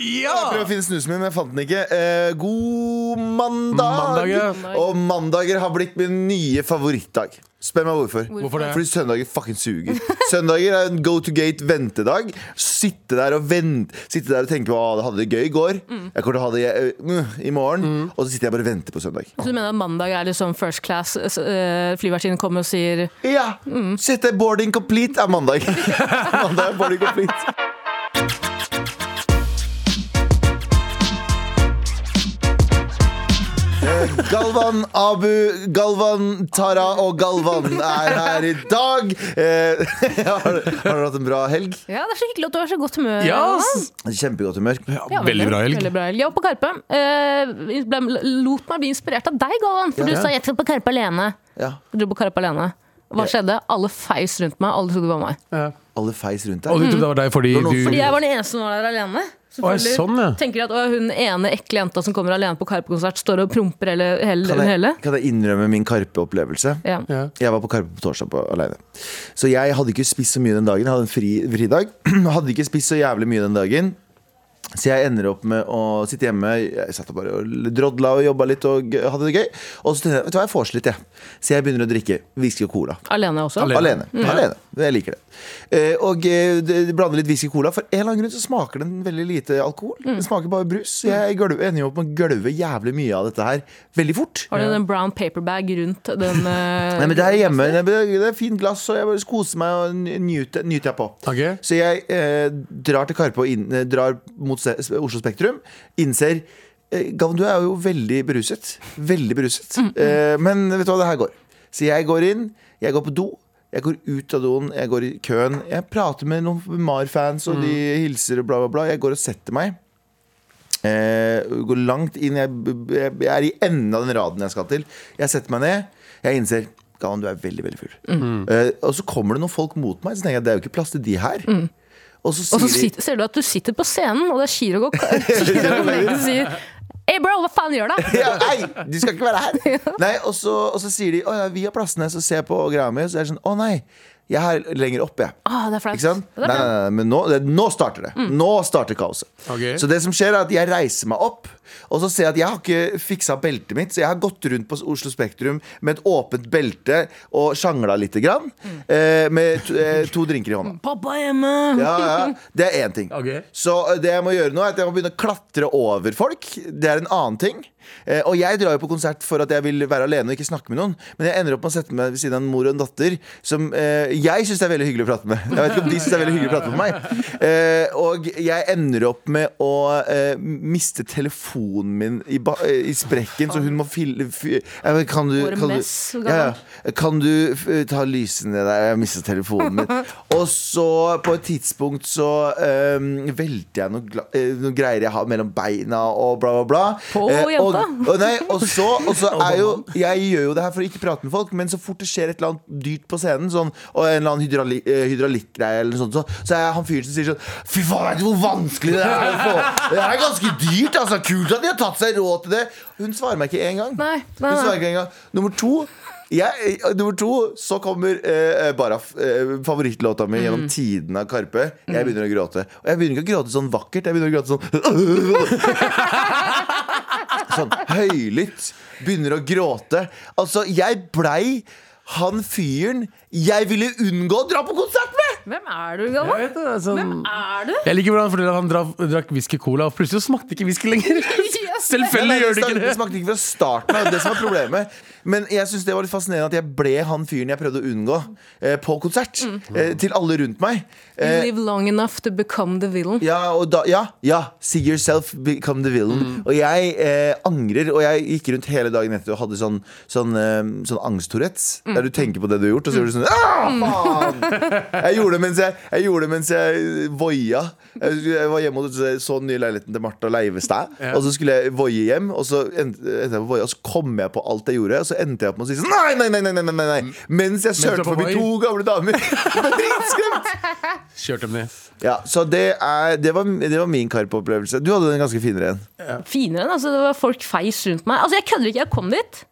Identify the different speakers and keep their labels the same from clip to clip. Speaker 1: Jeg prøvde å finne snusen min, men jeg fant den ikke. Eh, god mandag!
Speaker 2: Mandag, ja.
Speaker 1: Og mandager har blitt min nye favorittdag. Spør meg hvorfor.
Speaker 2: Hvorfor det?
Speaker 1: Fordi søndager fucking suger. Søndager er en go to gate ventedag. Sitte der og vente Sitte der og tenke på at jeg hadde det gøy i går.
Speaker 2: Mm.
Speaker 1: Jeg kommer til å ha det eh, i morgen. Og så sitter jeg bare og venter på søndag.
Speaker 3: Så du mener at mandag er liksom first class? Uh, Flyvertinnen kommer og sier
Speaker 1: Ja! Sitte boarding complete er mandag. mandag er boarding complete. Eh, Galvan, Abu, Galvan, Tara og Galvan er her i dag. Eh, har, har dere hatt en bra helg?
Speaker 3: Ja, det er så hyggelig at du har så godt humør.
Speaker 2: Ja,
Speaker 3: Anna.»
Speaker 2: ass.
Speaker 1: Kjempegodt humør.
Speaker 3: Ja,
Speaker 2: veldig bra helg.
Speaker 3: Veldig bra helg. Jeg var på Karpe. Eh, ble, lot meg bli inspirert av deg, Galvan. For
Speaker 1: Ja.
Speaker 3: du sa 'jeg skal på Karpe alene'.
Speaker 1: Ja,
Speaker 3: Du dro på Karpe alene. Hva skjedde? Alle feis rundt meg. Alle trodde det var meg.
Speaker 1: Alle feis rundt
Speaker 2: Og du
Speaker 1: deg.
Speaker 2: trodde det var deg fordi
Speaker 1: Det var
Speaker 2: du
Speaker 1: noen
Speaker 3: Fordi jeg var den eneste som var der alene.
Speaker 2: Å,
Speaker 3: Selvfølgelig.
Speaker 2: sånn, ja.
Speaker 3: Tenker de at å, hun ene ekle jenta som kommer alene på Karpe-konsert, står og promper hele, hele,
Speaker 1: Kan
Speaker 3: hele?
Speaker 1: jeg, kan jeg innrømme min Karpe-opplevelse?
Speaker 3: Ja.
Speaker 2: Ja.
Speaker 1: Jeg var på Karpe på torsdag på, alene. Så jeg hadde ikke spist så mye den dagen. Jeg hadde en fri, fridag. hadde ikke spist så jævlig mye den dagen. Så jeg ender opp med å sitte hjemme. Jeg satt og bare og drodla og jobba litt og gø- hadde det gøy. Og så tenkte jeg vet du hva, jeg får så litt, jeg. Så jeg begynner å drikke whisky og cola.
Speaker 3: Alene også?
Speaker 2: Alene.
Speaker 1: Alene. Alene. Jeg liker det. Eh, Og eh, det- blander litt whisky og cola. For en eller annen grunn så smaker den veldig lite alkohol. Den smaker bare brus. Jeg gølver- ender jo opp med å gølve jævlig mye av dette her veldig fort.
Speaker 3: Har du en brown paperbag rundt den eh,
Speaker 1: Nei, men det er hjemme. Det er- det er fint glass, og jeg bare koser meg og n- nyter, nyter jeg på.
Speaker 2: Ok.
Speaker 1: Så jeg eh, drar til Karpe og inn, eh, drar mot se- Oslo Spektrum. Innser eh, Gavn, du er jo veldig beruset. Veldig beruset. Eh, men vet du hva, det her går. Så jeg går inn, jeg går på do. Jeg går ut av doen, jeg går i køen. Jeg prater med noen MAR-fans, og de hilser og bla, bla, bla. Jeg går og setter meg. Eh, går langt inn jeg, jeg, jeg er i enden av den raden jeg skal til Jeg setter meg ned Jeg innser Galvan, du er veldig, veldig full
Speaker 3: Mm.
Speaker 1: eh, Og så kommer det noen folk mot meg Så tenker jeg, det er jo ikke plass til de her Og så
Speaker 3: Mm. Og
Speaker 1: sier
Speaker 3: så
Speaker 1: de
Speaker 3: sitter, ser du at du sitter på scenen, og det er Chirag og Chirag og Megan som sier Hey bro, hva faen gjør du?
Speaker 1: ja, Nei, du skal ikke være her Nei, og så, og så sier de Å ja, vi har plassene Så ser jeg på greia mi Og så er jeg sånn Å nei, jeg er lenger opp jeg
Speaker 3: Ah, det er flaut.
Speaker 1: Ikke sant?
Speaker 3: Det er
Speaker 1: Nei, nei,
Speaker 3: flaut.
Speaker 1: nei, men nå, det, nå starter det. Nå starter kaoset.
Speaker 2: Ok.
Speaker 1: Så det som skjer, er at jeg reiser meg opp, og så ser jeg at jeg har ikke fiksa beltet mitt, så jeg har gått rundt på Oslo Spektrum med et åpent belte og sjangla lite grann, eh, med to, eh, to drinker i hånda.
Speaker 3: Pappa er hjemme!
Speaker 1: Ja, ja, Det er én ting.
Speaker 2: Ok.
Speaker 1: Så eh, det jeg må gjøre nå, er at jeg må begynne å klatre over folk. Det er en annen ting. Eh, og jeg drar jo på konsert for at jeg vil være alene og ikke snakke med noen. Men jeg ender opp med å sette meg ved siden av en mor og en datter som eh, jeg syns er veldig hyggelig å prate med. Jeg vet ikke om de synes det er veldig hyggelig å prate med meg. Eh, og jeg ender opp med å eh, miste telefonen min i, ba eh, i sprekken, så hun må fylle fy jeg vet, Kan du,
Speaker 3: Hvor er
Speaker 1: kan du,
Speaker 3: mess, gammel?
Speaker 1: ja, ja. Kan du f- ta lysene der? Jeg mistet telefonen min. Og så, på et tidspunkt, så øhm, velter jeg noe, gla eh, noe greier jeg har mellom beina og bla, bla, bla. Eh,
Speaker 3: På
Speaker 1: og,
Speaker 3: jenta.
Speaker 1: og, nei, og så, og så er jo Jeg gjør jo det her for å ikke prate med folk, men så fort det skjer et eller annet dyrt på scenen, sånn, og en eller annen hydrauli- eh, hydraulikkgreie, eller noe sånt, så, så er jeg han fyren som sier sånn Fy faen, vet du hvor vanskelig det er å få Det er ganske dyrt, altså. Kult at de har tatt seg råd til det. Hun svarer meg ikke engang.
Speaker 3: Nei, nei,
Speaker 1: Hun svarer
Speaker 3: nei.
Speaker 1: ikke engang. Nummer to jeg, eh, nummer to, så kommer eh, Baraf, eh, favorittlåta mi gjennom
Speaker 3: Mm.
Speaker 1: tiden av Karpe. Jeg begynner å gråte. Og jeg begynner ikke å gråte sånn vakkert. Jeg begynner å gråte sånn Sånn høylytt. Begynner å gråte. Altså, jeg blei han fyren jeg ville unngå å dra på konsert med!
Speaker 3: Hvem er du, Galvan?
Speaker 2: Jeg vet det, det er sånn-
Speaker 3: Er du?
Speaker 2: Jeg liker hvordan han forteller at han dra- drakk whisky og cola, og plutselig så smakte ikke whisky lenger.
Speaker 1: Nei,
Speaker 2: Selvfølgelig
Speaker 1: nei,
Speaker 2: gjør det
Speaker 1: smak-
Speaker 2: ikke
Speaker 1: det
Speaker 2: det.
Speaker 1: smakte ikke fra starten av. Det som var problemet. Men jeg synes det var litt fascinerende at jeg ble han fyren jeg prøvde å unngå eh, på konsert.
Speaker 2: Mm.
Speaker 1: Eh, til alle rundt meg.
Speaker 3: You
Speaker 1: Eh,
Speaker 3: live long enough to become the villain.
Speaker 1: ja, og da, ja, ja, see yourself become the villain.
Speaker 2: Mm.
Speaker 1: Og jeg eh, angrer. Og jeg gikk rundt hele dagen etter og hadde sånn, sånn, eh, sånn angst-Tourettes.
Speaker 2: Mm.
Speaker 1: Der du tenker på det du har gjort, og så gjør du sånn «Ah, faen! Jeg gjorde det mens jeg, jeg, gjorde det mens jeg voia. Jeg, husker jeg var hjemme og så, så den nye leiligheten til Martha Leivestad. Og så skulle jeg voie hjem, og så endte endte jeg på å voie, og så kom jeg på alt jeg gjorde. Og så endte jeg opp med å si sånn nei, nei, nei, nei, nei, nei, nei, nei. Mens jeg
Speaker 2: du var
Speaker 1: kjørte
Speaker 2: på
Speaker 1: forbi
Speaker 2: voi.
Speaker 1: to gamle damer. Jeg ble dritskremt.
Speaker 2: Kjørte dem ned.
Speaker 1: Ja, så det, er, det, var, det var min Karpe-opplevelse. Du hadde en ganske finere en.
Speaker 3: Finere enn altså, det var folk feis rundt meg. Altså, jeg kødder ikke. Jeg kom dit,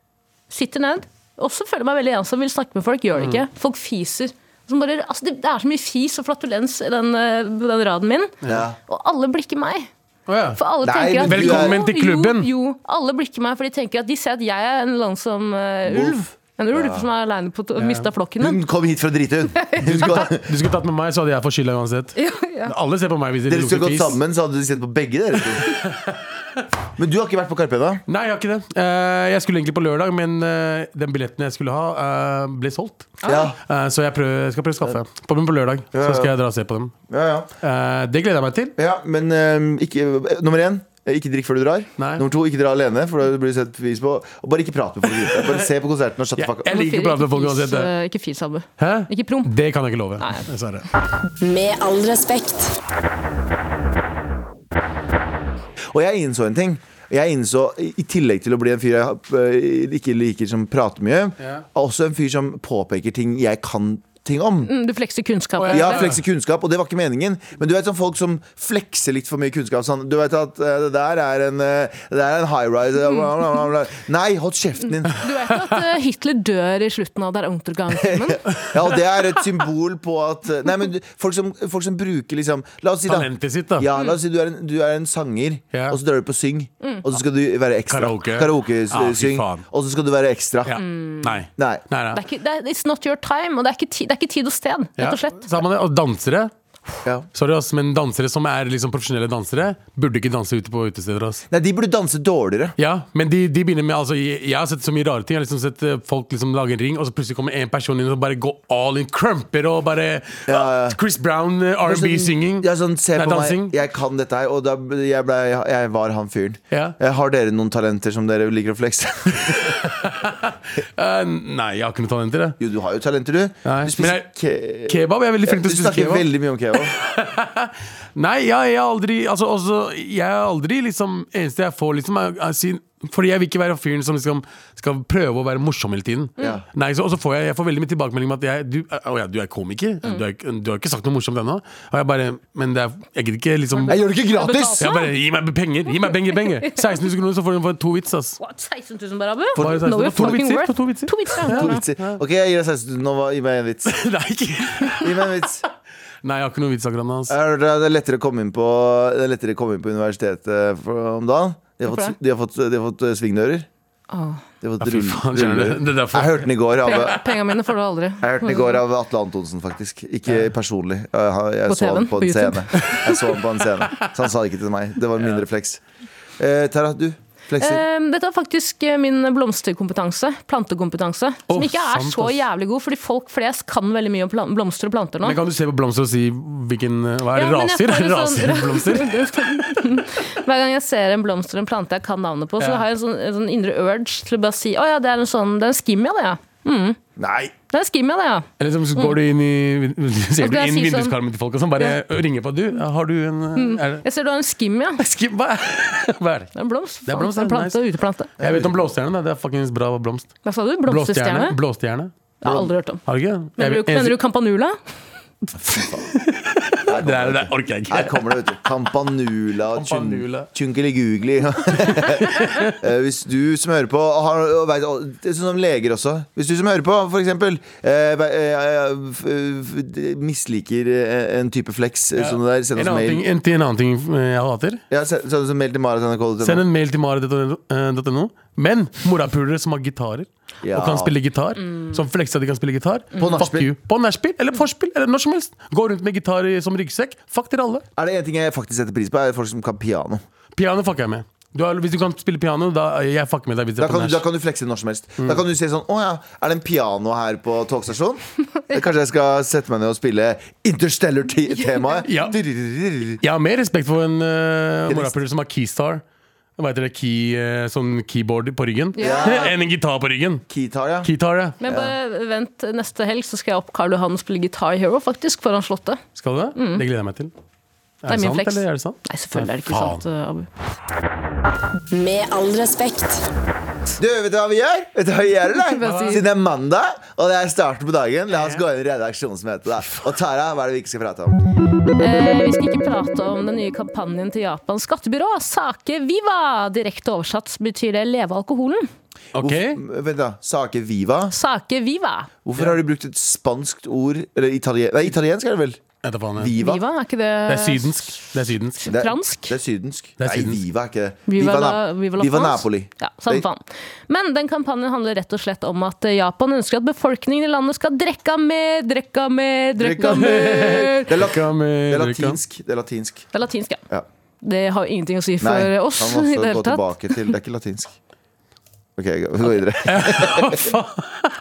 Speaker 3: sitter ned, også føler meg veldig ensom, vil snakke med folk, gjør det ikke.
Speaker 1: Mm.
Speaker 3: Folk fiser. Som bare, altså, det, det er så mye fis og flatulens i den, eh, på den raden min,
Speaker 1: Ja.
Speaker 3: og alle blikker meg.
Speaker 2: Å, ja.
Speaker 3: For alle
Speaker 1: Nei,
Speaker 3: tenker at
Speaker 1: men du er-
Speaker 2: Velkommen til klubben.
Speaker 3: Jo, jo, alle blikker meg, for de tenker at de ser at jeg er en langsom eh,
Speaker 1: Wolf.
Speaker 3: ulv. En ulv som er aleine på å mista flokken min.
Speaker 1: Hun kom hit for å drite, hun. Hun skal-
Speaker 2: Du skulle tatt med meg, så hadde jeg fått skylda uansett. Alle ser på meg hvis de
Speaker 1: Dere skulle
Speaker 2: lukter
Speaker 1: gått
Speaker 2: fis.
Speaker 1: sammen, så hadde de sett på begge dere. to. Men du har ikke vært på Karpe ennå?
Speaker 2: Nei, jeg har ikke det. Eh, jeg skulle egentlig på lørdag, men eh, den billetten jeg skulle ha, eh, ble solgt.
Speaker 1: Ja.
Speaker 2: Eh, så jeg, prøver, jeg skal prøve å skaffe. På, men på lørdag
Speaker 1: Ja, ja.
Speaker 2: så skal jeg dra og se på dem.
Speaker 1: Ja, ja.
Speaker 2: Eh, det gleder jeg meg til.
Speaker 1: ja, men eh, ikke, eh, nummer én eh, ikke drikk før du drar.
Speaker 2: Nei.
Speaker 1: Nummer to, ikke dra alene, for da blir du sett pris på. Og bare ikke prat med folk. rundt deg. Bare se på konserten og shut the
Speaker 2: Jeg,
Speaker 1: fuck up.
Speaker 2: jeg liker ikke å prate med folk uansett. det.
Speaker 3: eh, Ikke fis, Abu.
Speaker 2: Hæ?
Speaker 3: Ikke promp.
Speaker 2: Det kan jeg ikke love.
Speaker 3: Nei.
Speaker 2: Dessverre.
Speaker 4: Med all respekt.
Speaker 1: Og jeg innså en ting. Jeg innså, i i tillegg til å bli en fyr jeg eh, ikke liker som prater mye,
Speaker 2: Ja.
Speaker 1: er også en fyr som påpeker ting jeg kan ting om.
Speaker 3: Mm, Du flekser kunnskap.
Speaker 2: Å,
Speaker 1: Ja,
Speaker 2: Ja.
Speaker 1: flekse kunnskap, og det var ikke meningen. Men du vet sånn folk som flekser litt for mye kunnskap. Sånn, du vet at eh, det der er en, eh, det der er en high rise bla, bla, bla, bla. Nei, hold kjeften din!
Speaker 3: Du vet jo at eh, Hitler dør i slutten av Der Untergang-filmen?
Speaker 1: Ja, og det er et symbol på at Nei, men du- folk som, folk som bruker liksom La oss si, da.
Speaker 2: Talentet sitt, da.
Speaker 1: Ja, la oss si du er en, du er en sanger,
Speaker 2: Ja.
Speaker 1: og så drar du på syng. Og så skal du være ekstra.
Speaker 2: Karaoke. Ja, fy
Speaker 1: Karaokesyng.
Speaker 2: faen.
Speaker 1: og så skal du være ekstra.
Speaker 2: Ja. Nei. Nei,
Speaker 1: Nei.
Speaker 3: Det
Speaker 2: nei.
Speaker 3: er ikke, det er, it's not your time, og det er ikke, ti, det er ikke tid og sted, rett og slett.
Speaker 2: Ja. Sammen med- og dansere.
Speaker 1: Ja.
Speaker 2: Sorry, ass, men dansere som er liksom profesjonelle dansere, burde ikke danse ute på utesteder. Ass.
Speaker 1: Nei, de burde danse dårligere.
Speaker 2: Ja, men de, de begynner med altså, jeg, jeg har sett så mye rare ting. Jeg har liksom sett eh, folk liksom lage en ring, og så plutselig kommer en person inn og bare går all in. Crumper og bare
Speaker 1: Ja, ja.
Speaker 2: ah, Chris Brown, eh,
Speaker 1: Det er sånn-
Speaker 2: R&B-singing.
Speaker 1: Ja, sånn, se
Speaker 2: Nei,
Speaker 1: på
Speaker 2: dansing.
Speaker 1: meg, jeg kan dette her. Og da jeg, ble, jeg var han fyren.
Speaker 2: Ja.
Speaker 1: Eh, Har dere noen talenter som dere liker å flekse?
Speaker 2: Eh, nei, jeg har ikke noe talent til det.
Speaker 1: jo, du har jo talenter, du.
Speaker 2: Nei,
Speaker 1: Du spiser
Speaker 2: men Kebab? Jeg er veldig
Speaker 1: Ja,
Speaker 2: flink
Speaker 1: Du
Speaker 2: til å spise
Speaker 1: snakker
Speaker 2: kebab.
Speaker 1: veldig mye om kebab.
Speaker 2: Nei, jeg, jeg har aldri altså, også, Jeg har aldri liksom Eneste jeg får liksom er, er sin, Fordi jeg vil ikke være fyren som liksom skal prøve å være morsom hele tiden.
Speaker 1: Ja.
Speaker 2: Nei, så, Og så får jeg, jeg får veldig mye tilbakemelding om at jeg, du, å, ja, du er komiker.
Speaker 3: Mm.
Speaker 2: Du, er, ikke- du har ikke sagt noe morsomt ennå. Og jeg bare Men det er, jeg gidder ikke liksom
Speaker 1: Jeg gjør det ikke gratis!
Speaker 2: jeg bare, Gi meg penger! Gi meg penger, penger! 16 000 kroner, så får du for to vits, ass.
Speaker 3: What, 16 000 bare, Abu?
Speaker 2: Bare 16 000.
Speaker 3: Know your
Speaker 2: To
Speaker 3: fucking
Speaker 2: vitser,
Speaker 3: worth.
Speaker 2: for to vitser.
Speaker 3: ja.
Speaker 1: To vitser. Ok, jeg gir deg 16 000 nå. hva- Gi meg en vits.
Speaker 2: Nei, ikke.
Speaker 1: Gi meg en vits.
Speaker 2: Nei, jeg har ikke noe vits akkurat nå. ass.
Speaker 1: Er det det er lettere å komme inn på, det er lettere å komme inn på universitetet for, om dagen? De har
Speaker 3: Hvorfor
Speaker 1: fått, de har fått, de har fått eh, svingdører.
Speaker 3: Åh.
Speaker 1: De har fått
Speaker 2: Ja, fy
Speaker 1: rull-
Speaker 2: faen, skjønner du.
Speaker 1: rulledører.
Speaker 2: Det er derfor.
Speaker 1: Jeg hørte den i går av jeg
Speaker 3: Penga mine får du aldri.
Speaker 1: hørte den i går av Atle Antonsen, faktisk. Ikke personlig. Jeg, har- jeg
Speaker 3: På
Speaker 1: så han
Speaker 3: TV-en,
Speaker 1: på
Speaker 3: på
Speaker 1: en
Speaker 3: YouTube.
Speaker 1: scene. Jeg så han på en scene. Så han sa det ikke til meg. Det var min refleks. Eh, Tara, du flekser.
Speaker 3: Eh, dette er faktisk eh, min blomsterkompetanse, plantekompetanse, som
Speaker 2: Åh,
Speaker 3: ikke er
Speaker 2: sant,
Speaker 3: så
Speaker 2: ass.
Speaker 3: jævlig god, fordi folk flest kan veldig mye om plan- blomster og planter nå.
Speaker 2: Men kan du se på blomster og si hvilken Hva er det?
Speaker 3: Ja, men
Speaker 2: raser?
Speaker 3: jeg får en
Speaker 2: raser
Speaker 3: sånn-
Speaker 2: blomster?
Speaker 3: Hver gang jeg ser en blomst eller en plante jeg kan navnet på, så
Speaker 2: Ja.
Speaker 3: har jeg en sånn, en sånn indre urge til å bare si Å ja, det er en sånn, det er en skimmia, det, ja.
Speaker 1: Nei!
Speaker 3: Det er en skimmia, det, ja.
Speaker 2: Eller liksom, så går du inn i vin- Ser
Speaker 3: Og
Speaker 2: du
Speaker 3: jeg
Speaker 2: inn i
Speaker 3: sier sånn- Mm.
Speaker 2: vinduskarmen til folk og sånn, bare ringer på Du, har du en eh, er det,
Speaker 3: Jeg ser du har en skimmia. Det
Speaker 2: Skim- hva, er- hva er det?
Speaker 3: er en blomst.
Speaker 2: Det er blomst, det
Speaker 3: faen. en
Speaker 2: er
Speaker 3: plante, uteplante.
Speaker 2: Jeg vet om blåstjerne. da. Det er fuckings bra blomst.
Speaker 3: Hva sa du?
Speaker 2: Blåstjerne?
Speaker 3: Blomsterstjerne?
Speaker 2: Blåstjerne.
Speaker 3: Jeg har aldri hørt om.
Speaker 2: Har du ikke? det? Jeg
Speaker 3: Mener
Speaker 2: vet-
Speaker 3: du, mener du Campanula?
Speaker 2: Det der det der orker jeg
Speaker 1: Her
Speaker 2: ikke.
Speaker 1: kommer det, vet du. Campanula,
Speaker 2: Campanula.
Speaker 1: Chunkeligugli. Eh, Hvis du som hører på har, og vet, og det er Sånn som leger også. Hvis du som hører på, for eksempel, eh, ve- eh, f- f- misliker eh, en type flex eh, som det der, send
Speaker 2: En
Speaker 1: oss
Speaker 2: annen, ting,
Speaker 1: mail.
Speaker 2: en, til en annen ting eh, jeg hater.
Speaker 1: Ja, send, send oss en mail til
Speaker 2: Send
Speaker 1: mara.nrk.no.
Speaker 2: en mail til mare.no. Men morapulere som har gitarer
Speaker 1: Ja.
Speaker 2: og kan spille gitar,
Speaker 3: Mm.
Speaker 2: som flekser at de kan spille gitar
Speaker 1: På nachspiel.
Speaker 2: Fuck you. På nachspiel eller forspill eller når som helst. Gå rundt med gitar i- som ryggsekk. Fuck dere alle.
Speaker 1: Er det én ting jeg faktisk setter pris på, er folk som kan piano.
Speaker 2: Piano fucker jeg med. Du har, hvis du kan spille piano, da jeg fucker med deg. Hvis det
Speaker 1: Da
Speaker 2: er på
Speaker 1: kan, du, da
Speaker 2: nach.
Speaker 1: kan du flekse når som helst.
Speaker 2: Mm.
Speaker 1: Da kan du si sånn Å ja, er det en piano her på togstasjonen? Kanskje jeg skal sette meg ned og spille Interstellar-temaet?
Speaker 2: Ja. Jeg har mer respekt for en uh, morapuler som har keystar. Hva heter det? Key, eh, sånn keyboard på ryggen.
Speaker 3: Ja.
Speaker 2: Enn en gitar på ryggen.
Speaker 1: Keytar, ja.
Speaker 2: Keytar, ja.
Speaker 3: Men bare vent, neste helg så skal jeg opp Karl Johan og spille Guitar Hero, faktisk, foran Slottet.
Speaker 2: Skal du det? Det gleder jeg meg til. Er
Speaker 3: Mm. er
Speaker 2: det
Speaker 3: min
Speaker 2: sant,
Speaker 3: flex.
Speaker 2: eller er det sant?
Speaker 3: Nei, selvfølgelig er det ikke
Speaker 2: Faen.
Speaker 3: sant, Abu.
Speaker 4: Med all respekt.
Speaker 1: Du, vet du hva vi gjør? Vet du hva vi gjør, eller?
Speaker 3: Hva sier du?
Speaker 1: Siden det er mandag, og det er starten på dagen, la oss gå inn i redaksjonsmøtet. da Og Tara, hva er det vi ikke skal prate om?
Speaker 3: Eh, vi skal ikke prate om den nye kampanjen til Japans skattebyrå. Sake Viva! Direkte oversatt betyr det leve alkoholen.
Speaker 2: Ok.
Speaker 1: Hvorf- vent da, Sake viva.
Speaker 3: Sake viva.
Speaker 1: Hvorfor har du brukt et spanskt ord Eller italien, nei, italiensk er det vel?
Speaker 2: Jeg tar faen, jeg.
Speaker 1: Viva.
Speaker 3: Viva, er ikke det
Speaker 2: Det er sydensk. Det er sydensk.
Speaker 1: Det er,
Speaker 3: fransk?
Speaker 1: Det er sydensk.
Speaker 2: Det er sydensk.
Speaker 1: Nei, Viva er ikke det.
Speaker 3: Viva,
Speaker 1: Na-
Speaker 3: la, viva, la
Speaker 1: viva
Speaker 3: France.
Speaker 1: Napoli.
Speaker 3: Ja, samme
Speaker 1: Det-
Speaker 3: faen. Men den kampanjen handler rett og slett om at eh, Japan ønsker at befolkningen i landet skal drikke mer, drikke mer, drikke
Speaker 1: Drikka mer.
Speaker 3: mer.
Speaker 1: Det er, lat,
Speaker 2: Drikka mer,
Speaker 1: det er
Speaker 2: drikka.
Speaker 1: latinsk. Det er latinsk.
Speaker 3: Det er latinsk, ja.
Speaker 1: Ja.
Speaker 3: Det har jo ingenting å si for
Speaker 1: Nei,
Speaker 3: oss
Speaker 1: han må også
Speaker 3: i det
Speaker 1: gå
Speaker 3: hele tatt.
Speaker 1: tilbake til Det er ikke latinsk. OK, vi går videre.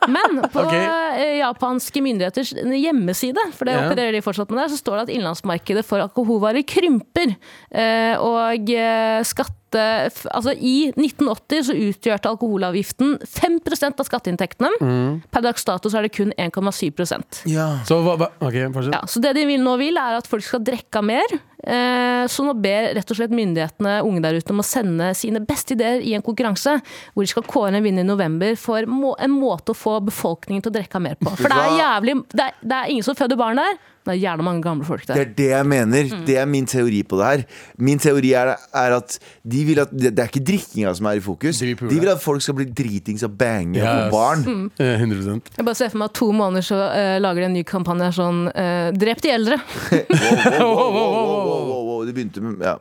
Speaker 3: Men på
Speaker 2: Ok.
Speaker 3: eh, japanske myndigheters hjemmeside, for det
Speaker 2: Ja.
Speaker 3: opererer de fortsatt med der, så står det at innenlandsmarkedet for alkoholvarer krymper. Eh, og eh, skatte... f- Altså i 1980 så utgjørte alkoholavgiften 5 av skatteinntektene.
Speaker 2: Mm.
Speaker 3: Per dags dato så er det kun 1,7
Speaker 2: Så hva, hva Ok, fortsett.
Speaker 3: ja, Så det de vil nå vil, er at folk skal drikke mer. Eh, så nå ber rett og slett myndighetene unge der ute om å sende sine beste ideer i en konkurranse, hvor de skal kåre en vinner i november for må, en måte å få befolkningen til å drikke mer på. For det er jævlig Det er, det er ingen som føder barn der. Det er gjerne mange gamle folk
Speaker 1: Det
Speaker 3: der.
Speaker 1: er det jeg mener. Det er min teori på det her. Min teori er, er at de vil at Det det er ikke drikkinga som er i fokus.
Speaker 2: De
Speaker 1: De
Speaker 2: vil pule.
Speaker 1: vil at folk skal bli dritings og bange
Speaker 2: Yes.
Speaker 1: på barn.
Speaker 2: Eh, 100
Speaker 3: Jeg bare ser for meg at to måneder så eh, lager de en ny kampanje sånn eh, Drep de eldre.
Speaker 1: Wow, wow, wow, wow, wow, wow, wow, wow. Det begynte med Ja.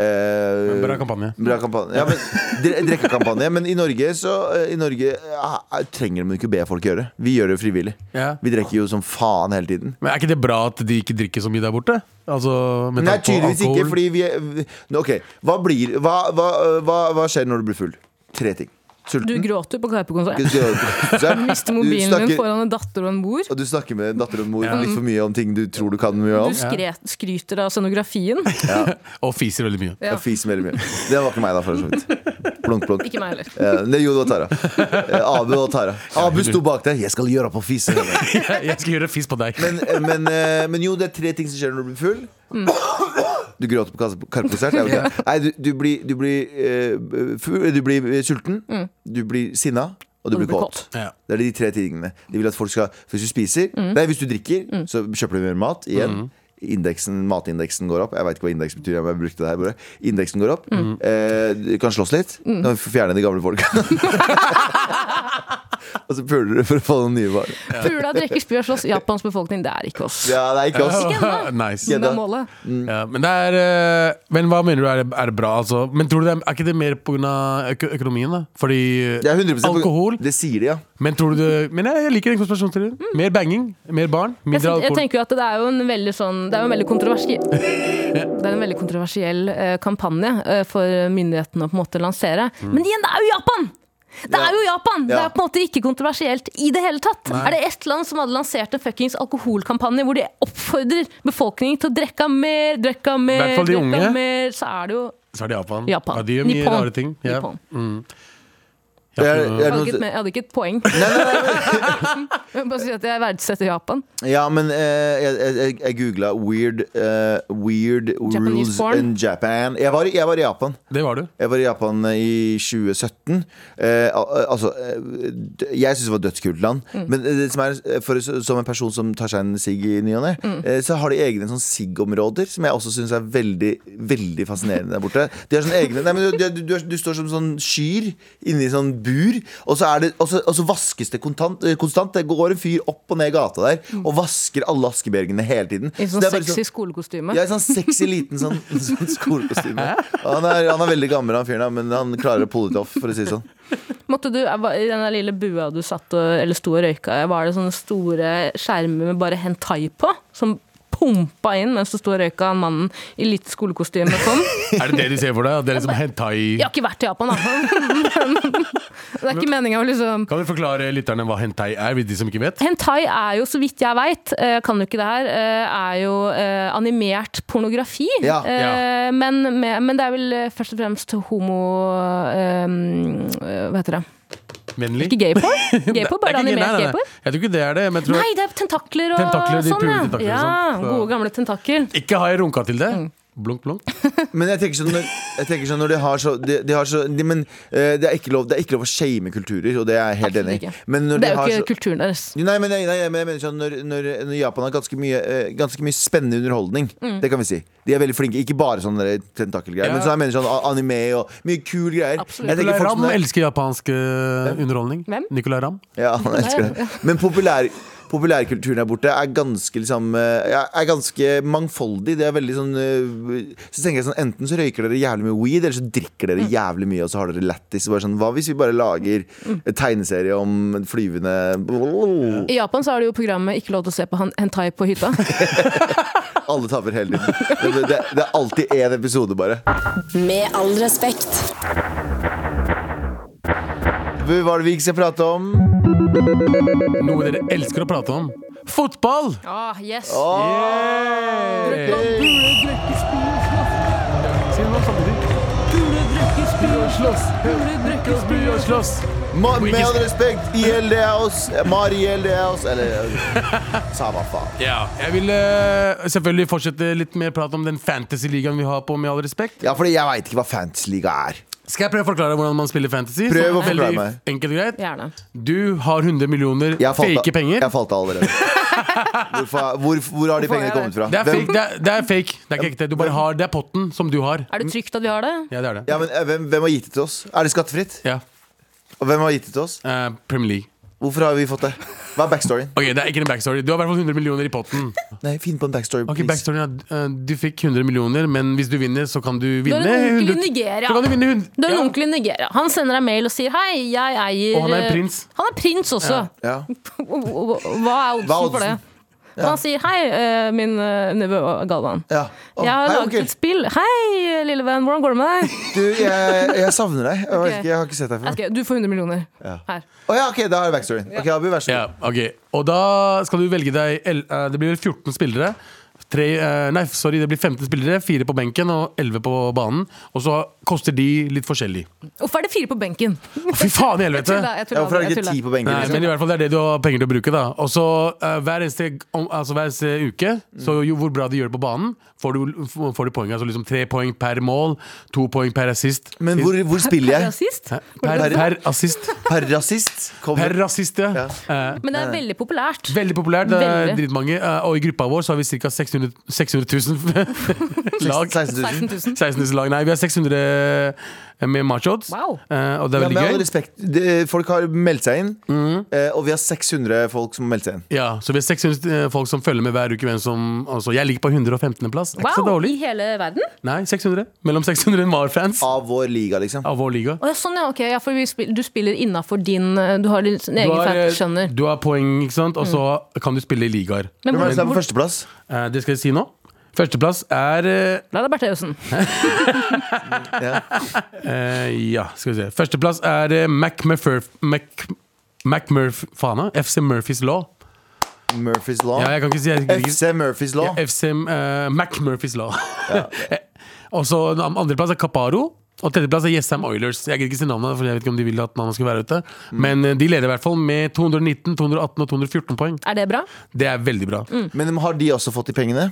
Speaker 1: Eh,
Speaker 2: Bra kampanje.
Speaker 1: Bra kampanje. Ja, men, dre- drikkekampanje. Men i Norge, så, eh, i Norge eh, trenger de jo ikke be folk gjøre det. Vi gjør det frivillig.
Speaker 2: Ja.
Speaker 1: Vi drikker jo som faen hele tiden.
Speaker 2: Men er ikke det bra at de ikke drikker så mye der borte? Altså, med
Speaker 1: Nei,
Speaker 2: tanke på
Speaker 1: tydeligvis ikke,
Speaker 2: alkohol?
Speaker 1: fordi vi er vi- Ok, hva blir Hva, eh, hva, hva, hva skjer når du blir full? Tre ting.
Speaker 3: Du
Speaker 1: Sulten.
Speaker 3: gråter på Karpe-konsert.
Speaker 1: Du
Speaker 3: Mister mobilen din
Speaker 1: snakker,
Speaker 3: foran en datter og en mor.
Speaker 1: og du snakker med datter og mor litt for mye om ting du tror du kan mye om.
Speaker 3: Du skre skryter av scenografien.
Speaker 2: Og fiser veldig mye.
Speaker 3: Ja.
Speaker 1: Jeg fiser veldig mye. Det var ikke meg, da, for så vidt. Blunk, blunk.
Speaker 3: Ikke meg heller.
Speaker 1: Eh, nei, jo, det var Tara. Eh, Abu og Tara. Abu sto bak deg. 'Jeg skal gjøre opp og fise'.
Speaker 2: Jeg, jeg skal gjøre fis på deg.
Speaker 1: Men, eh, men, eh, men jo, det er tre ting som skjer når du blir full.
Speaker 3: Mm.
Speaker 1: Du gråter på kas- Karpe-konsert. er det ikke det? Nei, du, du blir, du blir, eh, full, du blir eh, sulten,
Speaker 3: Mm.
Speaker 1: du blir sinna, og du blir kåt.
Speaker 2: Ja.
Speaker 1: Det er de tre tingene. De vil at folk skal Hvis du spiser
Speaker 3: Mm.
Speaker 1: Nei, hvis du drikker, så kjøper du mer mat igjen. Indeksen, matindeksen går opp. Jeg veit ikke hva indeks betyr. men Jeg brukte det her bare. Indeksen går opp.
Speaker 3: Mm.
Speaker 1: Eh, du kan slåss litt. Nå må vi fjerne de gamle folka. og så puler du for å få noen nye barn.
Speaker 3: Pula, drikker, spyr, slåss. Japans befolkning, det er ikke oss.
Speaker 1: Ja, det er ikke oss.
Speaker 2: nice.
Speaker 1: Ja,
Speaker 3: Som
Speaker 1: da-
Speaker 3: er målet.
Speaker 2: Ja, men det er eh, Men hva mener du er, er det bra, altså? Men tror du det er, er ikke det mer pga. Øko økonomien, da? Fordi eh,
Speaker 1: Det er 100 på-
Speaker 2: alkohol
Speaker 1: Det sier de, ja.
Speaker 2: Men tror du det Men jeg, jeg liker den konspirasjonsteorien. Mer banging, mer barn,
Speaker 3: Mm.
Speaker 2: mindre
Speaker 3: Jeg, tenk- jeg
Speaker 2: alkohol.
Speaker 3: tenker jo at det er jo en veldig sånn Det er jo en veldig kontroversiell Det er en veldig kontroversiell eh, kampanje eh, for myndighetene å på en måte lansere. Men igjen, det er jo Japan! Det er jo Japan! Det
Speaker 1: Mm. Ja.
Speaker 3: er på en måte ikke kontroversielt i det hele tatt. Er det ett land som hadde lansert en fuckings alkoholkampanje hvor de oppfordrer befolkningen til å drikke mer, drikke mer,
Speaker 2: hvert fall de
Speaker 3: drikke
Speaker 2: unge.
Speaker 3: mer, så er det jo
Speaker 2: Så er det Japan.
Speaker 3: Japan.
Speaker 2: Ja, de gjør mye
Speaker 3: Nippon.
Speaker 2: rare ting. Ja. Mm.
Speaker 3: Nippon.
Speaker 1: Det er, det
Speaker 3: Jeg
Speaker 1: er
Speaker 3: hadde ikke
Speaker 1: noe,
Speaker 3: et- jeg hadde ikke et poeng. Jeg vil bare si at jeg verdsetter Japan.
Speaker 1: Ja, men eh, jeg, jeg, jeg googla 'weird, eh, weird
Speaker 3: Japanese
Speaker 1: rules
Speaker 3: porn.
Speaker 1: in Japan'. Jeg var, i- jeg var i Japan.
Speaker 2: Det var du.
Speaker 1: Jeg var i Japan eh, i 2017. Eh, al- altså eh, d- Jeg syns det var et dødskult land.
Speaker 3: Mm.
Speaker 1: Men eh, det som, er, for, som en person som tar seg en sigg i ny og ne,
Speaker 3: Mm.
Speaker 1: eh, så har de egne sånn sigg-områder som jeg også syns er veldig veldig fascinerende der borte. De har sånne egne nei, men du, du, du, du står som sånn skyr inni sånn bur, og så, er det, og så, og så vaskes det kontant, eh, konstant. Det går en fyr opp og ned gata der og vasker alle askebergene hele tiden.
Speaker 3: Mm. I
Speaker 1: Så
Speaker 3: sånn
Speaker 1: det er bare
Speaker 3: sexy skolekostyme.
Speaker 1: jeg er sånn sexy liten sånn, sånn skolekostyme. Han er, han er veldig gammel, han fyren, her, men han klarer å pulle det off, for å si det sånn.
Speaker 3: Måtte du, I den der lille bua du satt og, eller sto og røyka i, var det sånne store skjermer med bare hentai på? Som pumpa inn mens du sto og røyka, han mannen i litt skolekostyme kom?
Speaker 2: Er det det du ser for deg? At Det er liksom hentai
Speaker 3: Jeg har ikke vært i Japan, da. Det er ikke meninga å liksom
Speaker 2: Kan du forklare lytterne hva hentai er, hvis de som ikke vet?
Speaker 3: Hentai er jo, så vidt jeg veit, kan jo ikke det her, eh, er jo eh, animert pornografi.
Speaker 1: Ja.
Speaker 3: Eh, Men, med, men det er vel eh, først og fremst homo... eh, eh, Hva heter det?
Speaker 2: Vennlig?
Speaker 3: Ikke gayporn? Gayporn,
Speaker 2: Det er
Speaker 3: bare
Speaker 2: ikke- nei,
Speaker 3: animert
Speaker 2: nei, nei.
Speaker 3: gayporn?
Speaker 2: Jeg tror ikke det er det. Men jeg tror
Speaker 3: Nei, det er tentakler og
Speaker 2: Tentakler, de
Speaker 3: sånn,
Speaker 2: pule tentakler og
Speaker 3: ja.
Speaker 2: sånn. Så-
Speaker 3: Gode gamle tentakler.
Speaker 2: Ikke har jeg runka til det, Blunk, blunk.
Speaker 1: Men jeg tenker sånn når, jeg tenker sånn når de har så, de, de har så de, Men eh, det er ikke lov, det er ikke lov å shame kulturer, og det er jeg helt
Speaker 3: Absolutt
Speaker 1: enig i.
Speaker 3: ikke.
Speaker 1: Men når
Speaker 3: Det
Speaker 1: de
Speaker 3: er jo
Speaker 1: har
Speaker 3: ikke
Speaker 1: så,
Speaker 3: kulturen deres.
Speaker 1: Nei, men, nei, nei, men jeg mener sånn når, når, når Japan har ganske mye, eh, ganske mye spennende underholdning.
Speaker 3: Mm.
Speaker 1: Det kan vi si. De er veldig flinke. Ikke bare sånne der tentakelgreier,
Speaker 2: Ja.
Speaker 1: men sånn, jeg mener sånn a- anime og mye kule greier.
Speaker 3: Absolutt.
Speaker 1: Jeg tenker
Speaker 2: Nicolay
Speaker 1: folk som
Speaker 2: Ramm
Speaker 1: er-
Speaker 2: elsker japansk eh, underholdning.
Speaker 3: Hvem?
Speaker 2: Nicolay Ramm.
Speaker 1: Ja, han elsker det. Men populær, populærkulturen her borte er ganske, liksom, eh, ja, er ganske mangfoldig. Det er veldig sånn eh, Så tenker jeg sånn Enten så røyker dere jævlig mye weed, eller så drikker dere jævlig mye, og så har dere lættis. Og bare Sånn, hva hvis vi bare lager en tegneserie om en flyvende
Speaker 3: I Japan så er det jo programmet 'Ikke lov til å se på han- hentai på hytta'.
Speaker 1: Alle taper hele tiden. Det, det, det er alltid én episode, bare.
Speaker 5: Med all respekt.
Speaker 1: Hva var det vi ikke skal prate om?
Speaker 2: Noe dere elsker å prate om. Fotball!
Speaker 3: Ah, yes.
Speaker 2: Hey. Si noe samtidig. By og slåss.
Speaker 1: Ma, med all respekt, ILD er oss, Mari ILD er oss, eller Samme faen.
Speaker 2: Ja. Jeg vil eh, selvfølgelig fortsette litt mer prat om den fantasy-ligaen vi har på, med all respekt.
Speaker 1: Ja, fordi jeg veit ikke hva Fantasy-liga er.
Speaker 2: Skal jeg prøve å forklare hvordan man spiller fantasy?
Speaker 1: Prøv
Speaker 2: Sånn
Speaker 1: å forklare
Speaker 2: veldig
Speaker 1: meg.
Speaker 2: Enkelt og greit.
Speaker 3: Gjerne.
Speaker 2: Du har 100 millioner
Speaker 1: Jeg falt,
Speaker 2: fake penger.
Speaker 1: Jeg falt av allerede. Hvorfor, hvor, hvor har de pengene kommet fra?
Speaker 2: Det er,
Speaker 1: Hvem,
Speaker 2: fake, det, er, det er fake. Det er ikke ekte. Du bare har, det er potten som du har.
Speaker 3: Er det trygt at vi har det?
Speaker 2: Ja, det er det.
Speaker 1: ja, men, eh, hvem, hvem har gitt det til oss? Er det skattefritt?
Speaker 2: Ja.
Speaker 1: Og hvem har gitt det til oss?
Speaker 2: Eh, Premier League.
Speaker 1: Hvorfor har vi fått det? Hva er backstoryen?
Speaker 2: Ok, Det er ikke en backstory. Du har i hvert fall 100 millioner i potten.
Speaker 1: Nei, Finn på en backstory.
Speaker 2: Ok,
Speaker 1: please.
Speaker 2: backstoryen er at eh, Du fikk 100 millioner, men hvis du vinner, så kan du
Speaker 3: Du
Speaker 2: vinne
Speaker 3: har en onkel i
Speaker 2: 100
Speaker 3: Nigeria.
Speaker 2: Så kan du vinne 100
Speaker 3: Du har en
Speaker 2: Ja.
Speaker 3: onkel i Nigeria. Han sender deg mail og sier 'hei, jeg eier' eh,
Speaker 2: Og han er en prins.
Speaker 3: Han er prins også.
Speaker 1: Ja.
Speaker 3: Hva er oddsen,
Speaker 1: Hva er
Speaker 3: for det?
Speaker 1: oddsen?
Speaker 3: Og han sier 'hei, eh, min eh, nevø Galvan'.
Speaker 1: Ja. Å,
Speaker 3: Jeg har
Speaker 1: hei,
Speaker 3: laget
Speaker 1: onkel.
Speaker 3: et spill. Hei, lille venn, hvordan går det med deg?
Speaker 1: Du, jeg, jeg savner deg. Jeg, vet
Speaker 3: Ok.
Speaker 1: ikke, jeg har ikke sett deg
Speaker 3: Jeg
Speaker 1: før. Å
Speaker 3: skal, du får 100 millioner. Her.
Speaker 1: ja, ok, da er det backstoryen. Ok, Abu, vær så
Speaker 2: Ja,
Speaker 1: god.
Speaker 2: ok Og da skal du velge deg el- eh, Det blir vel 14 spillere Tre, eh, Nei, sorry, det blir 15 spillere Fire på benken og 11 på banen Og så koster de litt forskjellig
Speaker 3: Hvorfor er det fire på benken?
Speaker 2: Å, Fy faen i helvete
Speaker 3: Tulla, jeg
Speaker 1: Ja,
Speaker 3: tulla,
Speaker 1: hvorfor er
Speaker 3: jeg
Speaker 1: det ikke
Speaker 3: tulla.
Speaker 1: ti på benken?
Speaker 2: Nei, men
Speaker 1: Liksom?
Speaker 2: i hvert fall det er det du har penger til å bruke da Og så eh, hver, eneste, om, altså, hver eneste uke Så jo hvor bra de gjør det på banen Får du, får du poeng, altså liksom tre poeng per mål To poeng per assist
Speaker 1: Men hvor, hvor spiller
Speaker 3: Er det
Speaker 1: jeg?
Speaker 3: rasist?
Speaker 2: Hæ? Per, per assist
Speaker 1: Per rasist?
Speaker 2: Per
Speaker 1: Kommer.
Speaker 2: rasist, ja, Eh,
Speaker 3: Men det er veldig populært.
Speaker 2: Veldig populært, det er
Speaker 3: Veldig.
Speaker 2: dritmange. eh, Og i gruppa vår så har vi ca. 600, 600 000 lag.
Speaker 1: 16
Speaker 3: 16
Speaker 1: 000.
Speaker 3: 000.
Speaker 2: 16 000 lag. Nei, vi har 600 med machots.
Speaker 3: Wow.
Speaker 2: eh, Og det
Speaker 1: Ja,
Speaker 2: er
Speaker 1: med all
Speaker 2: veldig gøy. Mm.
Speaker 1: respekt, det- folk har meldt seg inn, eh, og vi har 600 folk som har meldt seg inn.
Speaker 2: Ja, så vi har 600 folk som følger med hver uke. Hvem som, altså, jeg ligger på 115. plass. Det er ikke så
Speaker 3: Wow,
Speaker 2: dårlig.
Speaker 3: I hele verden?
Speaker 2: Nei, 600. Mellom 600 Mar-fans
Speaker 1: Av vår liga, liksom.
Speaker 2: av vår liga.
Speaker 3: Å, ja, sånn, ja, ok. Ja, for vi spil, du spiller innafor din eh, Du har din din
Speaker 2: Du
Speaker 3: egen
Speaker 2: har,
Speaker 3: fan,
Speaker 2: eh,
Speaker 3: skjønner. Mm.
Speaker 2: du har poeng, ikke sant? og så kan du spille i ligaer.
Speaker 3: Men
Speaker 1: Hvem er det som er
Speaker 3: hvor,
Speaker 1: på førsteplass?
Speaker 2: Eh, Det skal jeg si nå. Førsteplass er eh,
Speaker 3: Nei, det er Berthe Ausen.
Speaker 2: Eh, ja, skal vi se. Førsteplass er eh, Mac McMurf... Mac, McMurf... Faen, da. FC Murphys Law.
Speaker 1: Murphys Law.
Speaker 2: Ja, jeg kan ikke si jeg kan ikke-
Speaker 1: FC Murphys Law.
Speaker 2: Ja, FC eh, McMurphys Law. Eh, Og så den andreplass er Caparo. Og tredjeplass er Jessheim Oilers. Jeg gidder ikke si navnet, for jeg vet ikke om de vil at navnet skal være ute. Men eh, de leder i hvert fall med 219, 218 og 214 poeng.
Speaker 3: Er det bra?
Speaker 2: Det er veldig bra.
Speaker 1: Men har de også fått de pengene?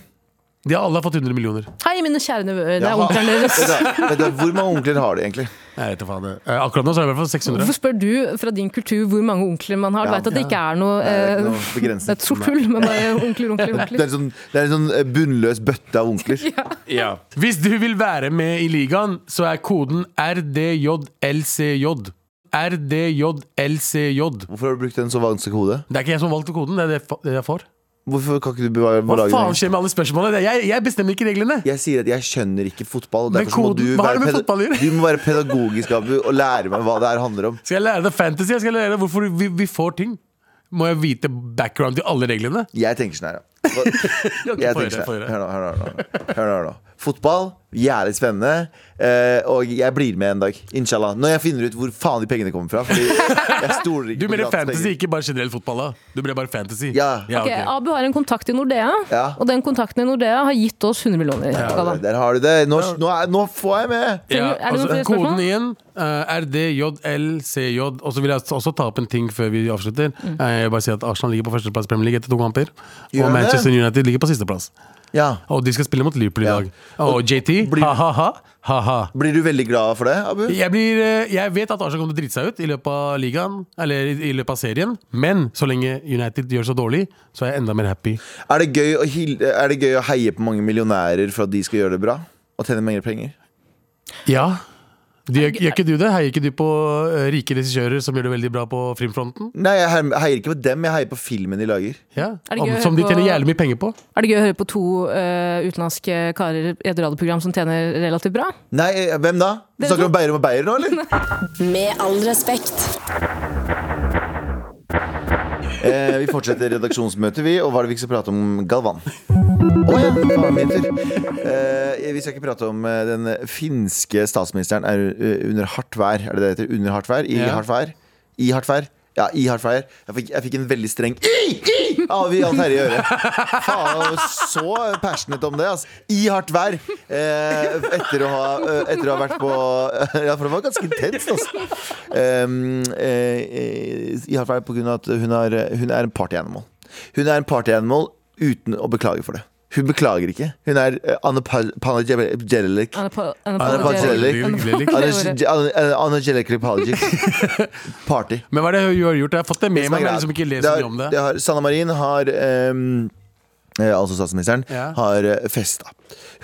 Speaker 2: De har alle fått 100 millioner.
Speaker 3: Hei, mine kjære nevøer. Det
Speaker 1: Ja.
Speaker 3: er onkelen deres.
Speaker 1: Vet du, vet du, hvor mange onkler har de egentlig?
Speaker 2: Jeg vet da faen. eh, Akkurat nå så er det i hvert fall 600.
Speaker 3: Hvorfor spør du fra din kultur hvor mange onkler man har? Du
Speaker 1: Ja.
Speaker 3: vet at det ikke er noe,
Speaker 1: Nei, det er ikke
Speaker 3: eh,
Speaker 1: noe begrensning.
Speaker 3: Det er et sort hull med bare onkler, onkler,
Speaker 1: Det er
Speaker 3: onkler.
Speaker 1: en sånn, det er en sånn eh, bunnløs bøtte av onkler.
Speaker 2: Hvis du vil være med i ligaen, så er koden RDJLCJ. RDJLCJ.
Speaker 1: Hvorfor har du brukt en så vanskelig kode?
Speaker 2: Det er ikke jeg som har valgt koden, det er det fa- det jeg får.
Speaker 1: Hvorfor kan ikke du bevare
Speaker 2: Hva
Speaker 1: lage
Speaker 2: faen
Speaker 1: den?
Speaker 2: skjer med alle spørsmålene? Det- Jeg, jeg bestemmer ikke reglene.
Speaker 1: Jeg sier at jeg skjønner ikke fotball. og
Speaker 2: Men
Speaker 1: Derfor så må
Speaker 2: koden- hva
Speaker 1: du,
Speaker 2: har
Speaker 1: være
Speaker 2: det med
Speaker 1: peda-
Speaker 2: fotball å gjøre?
Speaker 1: du må være pedagogisk Abu, og lære meg hva det her handler om.
Speaker 2: Skal jeg lære deg fantasy? Jeg skal lære deg hvorfor vi, vi får ting. Må jeg vite background til alle reglene?
Speaker 1: Jeg tenker sånn her, ja. Hva- Jeg
Speaker 2: Få høre,
Speaker 1: tenker sånn
Speaker 2: få høre.
Speaker 1: her. Hør nå, hør nå. Hør nå, hør nå, hør nå. Fotball, jævlig spennende. eh, og jeg blir med en dag. Inshallah. Når jeg finner ut hvor faen de pengene kommer fra. Fordi jeg stoler ikke
Speaker 2: Du
Speaker 1: på
Speaker 2: mener
Speaker 1: gratis
Speaker 2: fantasy,
Speaker 1: penger.
Speaker 2: ikke bare generell fotball? da Du mener bare fantasy?
Speaker 1: Ja.
Speaker 3: Ok, Abu har en kontakt i Nordea,
Speaker 1: Ja.
Speaker 3: og den kontakten i Nordea har gitt oss 100 millioner.
Speaker 1: Ja,
Speaker 3: Galvan.
Speaker 1: Der har du det. Nå, nå, er, nå får jeg med!
Speaker 2: Ja,
Speaker 3: Trenger- er det noen
Speaker 2: altså,
Speaker 3: flere spørsmål?
Speaker 2: koden igjen eh, er DJLCJ. Og så vil jeg også ta opp en ting før vi
Speaker 3: Mm.
Speaker 2: avslutter. Eh, Jeg vil bare si at Arsenal ligger på førsteplass i Premier League etter to kamper.
Speaker 1: Gjør
Speaker 2: Og
Speaker 1: det?
Speaker 2: Manchester United ligger på sisteplass.
Speaker 1: Ja.
Speaker 2: Og de skal spille mot Liverpool i
Speaker 1: Ja.
Speaker 2: dag. Og JT,
Speaker 1: blir-
Speaker 2: ha-ha-ha. Ha-ha.
Speaker 1: Blir du veldig glad for det, Abu?
Speaker 2: Jeg, blir, eh, jeg vet at Arsenal kommer til å drite seg ut i løpet av ligaen, eller i, i løpet av serien, men så lenge United gjør så dårlig, så er jeg enda mer happy.
Speaker 1: Er, det gøy å hil er det gøy å heie på mange millionærer for at de skal gjøre det bra? Og tjene mer penger?
Speaker 2: Ja. Du, gjør, gjør ikke du det? Heier ikke du på eh, rike regissører som gjør det veldig bra på filmfronten?
Speaker 1: Nei, jeg he- heier ikke på dem, jeg heier på filmen de lager.
Speaker 2: Ja.
Speaker 3: Er det
Speaker 2: Om,
Speaker 3: gøy å
Speaker 2: som de
Speaker 3: høre
Speaker 2: tjener
Speaker 3: på-
Speaker 2: jævlig mye penger på.
Speaker 3: Er det gøy å høre på to eh, utenlandske karer i et radioprogram som tjener relativt bra?
Speaker 1: Nei, eh, hvem da? Du
Speaker 3: Dere
Speaker 1: snakker om Beirum og Beyer nå, eller?
Speaker 5: Med all respekt.
Speaker 1: Eh, vi fortsetter redaksjonsmøtet, vi. Og hva er det vi ikke skal prate om? Galvan. Å ja, faen, min tur. Eh, vi skal ikke prate om eh, den finske statsministeren er eh, under hardt vær. Er det det heter? Under hardt vær? I
Speaker 2: Ja.
Speaker 1: hardt vær? I hardt vær? Ja, i hardt vær. Jeg fikk, jeg fikk en veldig streng i, i av Jan Terje Øre. Faen, jeg var så passionate om det. Altså. I hardt vær. Eh, etter, å ha, eh, etter å ha vært på eh, Ja, for det var ganske intenst, altså. Um, eh, eh, I hardt vær på grunn av at hun, har, hun er en party animal. Hun er en party animal uten å beklage for det. Hun beklager ikke. Hun er eh, unapologetic.
Speaker 3: Anapo-
Speaker 1: Anapagelic.
Speaker 2: Anapagelic.
Speaker 1: liksom.
Speaker 3: Anapagelic.
Speaker 1: Unapologetic apologic. Party.
Speaker 2: Men hva er det hun har gjort? Jeg har fått det med
Speaker 1: Det som er
Speaker 2: meg, men
Speaker 1: greia-
Speaker 2: liksom ikke lest så
Speaker 1: det har-
Speaker 2: mye om det.
Speaker 1: det har, Sanna Marin har ehm, eh, Altså statsministeren
Speaker 2: Ja.
Speaker 1: har eh, festa.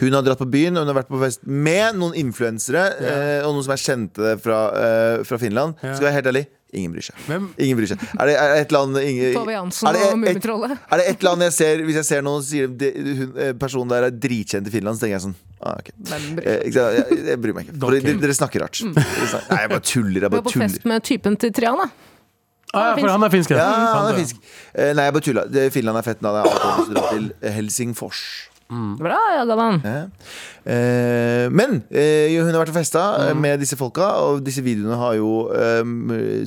Speaker 1: Hun har dratt på byen og hun har vært på fest med noen influensere eh, og noen som er kjente fra, eh, fra Finland.
Speaker 2: Ja.
Speaker 1: Skal jeg være helt ærlig ingen bryr seg.
Speaker 2: Hvem?
Speaker 1: Ingen bryr seg. Er det, er det et land ingen,
Speaker 3: Tove Jansson
Speaker 1: er det et-
Speaker 3: og Mummitrollet.
Speaker 1: Er det et land jeg ser Hvis jeg ser noen som sier de, hun, eh, personen der er dritkjent i Finland, så tenker jeg sånn ah, ok.
Speaker 3: Hvem bryr- Mm.
Speaker 1: eh, ikke sant? jeg, jeg bryr meg ikke. For
Speaker 2: Don't
Speaker 1: dere,
Speaker 2: care.
Speaker 1: dere snakker rart. Dere snakker, nei, jeg bare tuller. Jeg
Speaker 3: Du var
Speaker 1: bare
Speaker 3: på
Speaker 1: tuller.
Speaker 3: fest med typen til Trian, da.
Speaker 2: Ah, ja, for han er finsk,
Speaker 1: Ja, han
Speaker 2: Sant,
Speaker 1: er finsk. Eh, Nei, jeg bare tulla. Det- Finland er fett. Nå hadde jeg avtalt å dra til eh, Helsingfors.
Speaker 3: Bra, ja, Galvan.
Speaker 1: Mm. Ja. Eh, Men eh, jo, hun har vært og festa eh,
Speaker 2: Mm.
Speaker 1: med disse folka, og disse videoene har jo eh,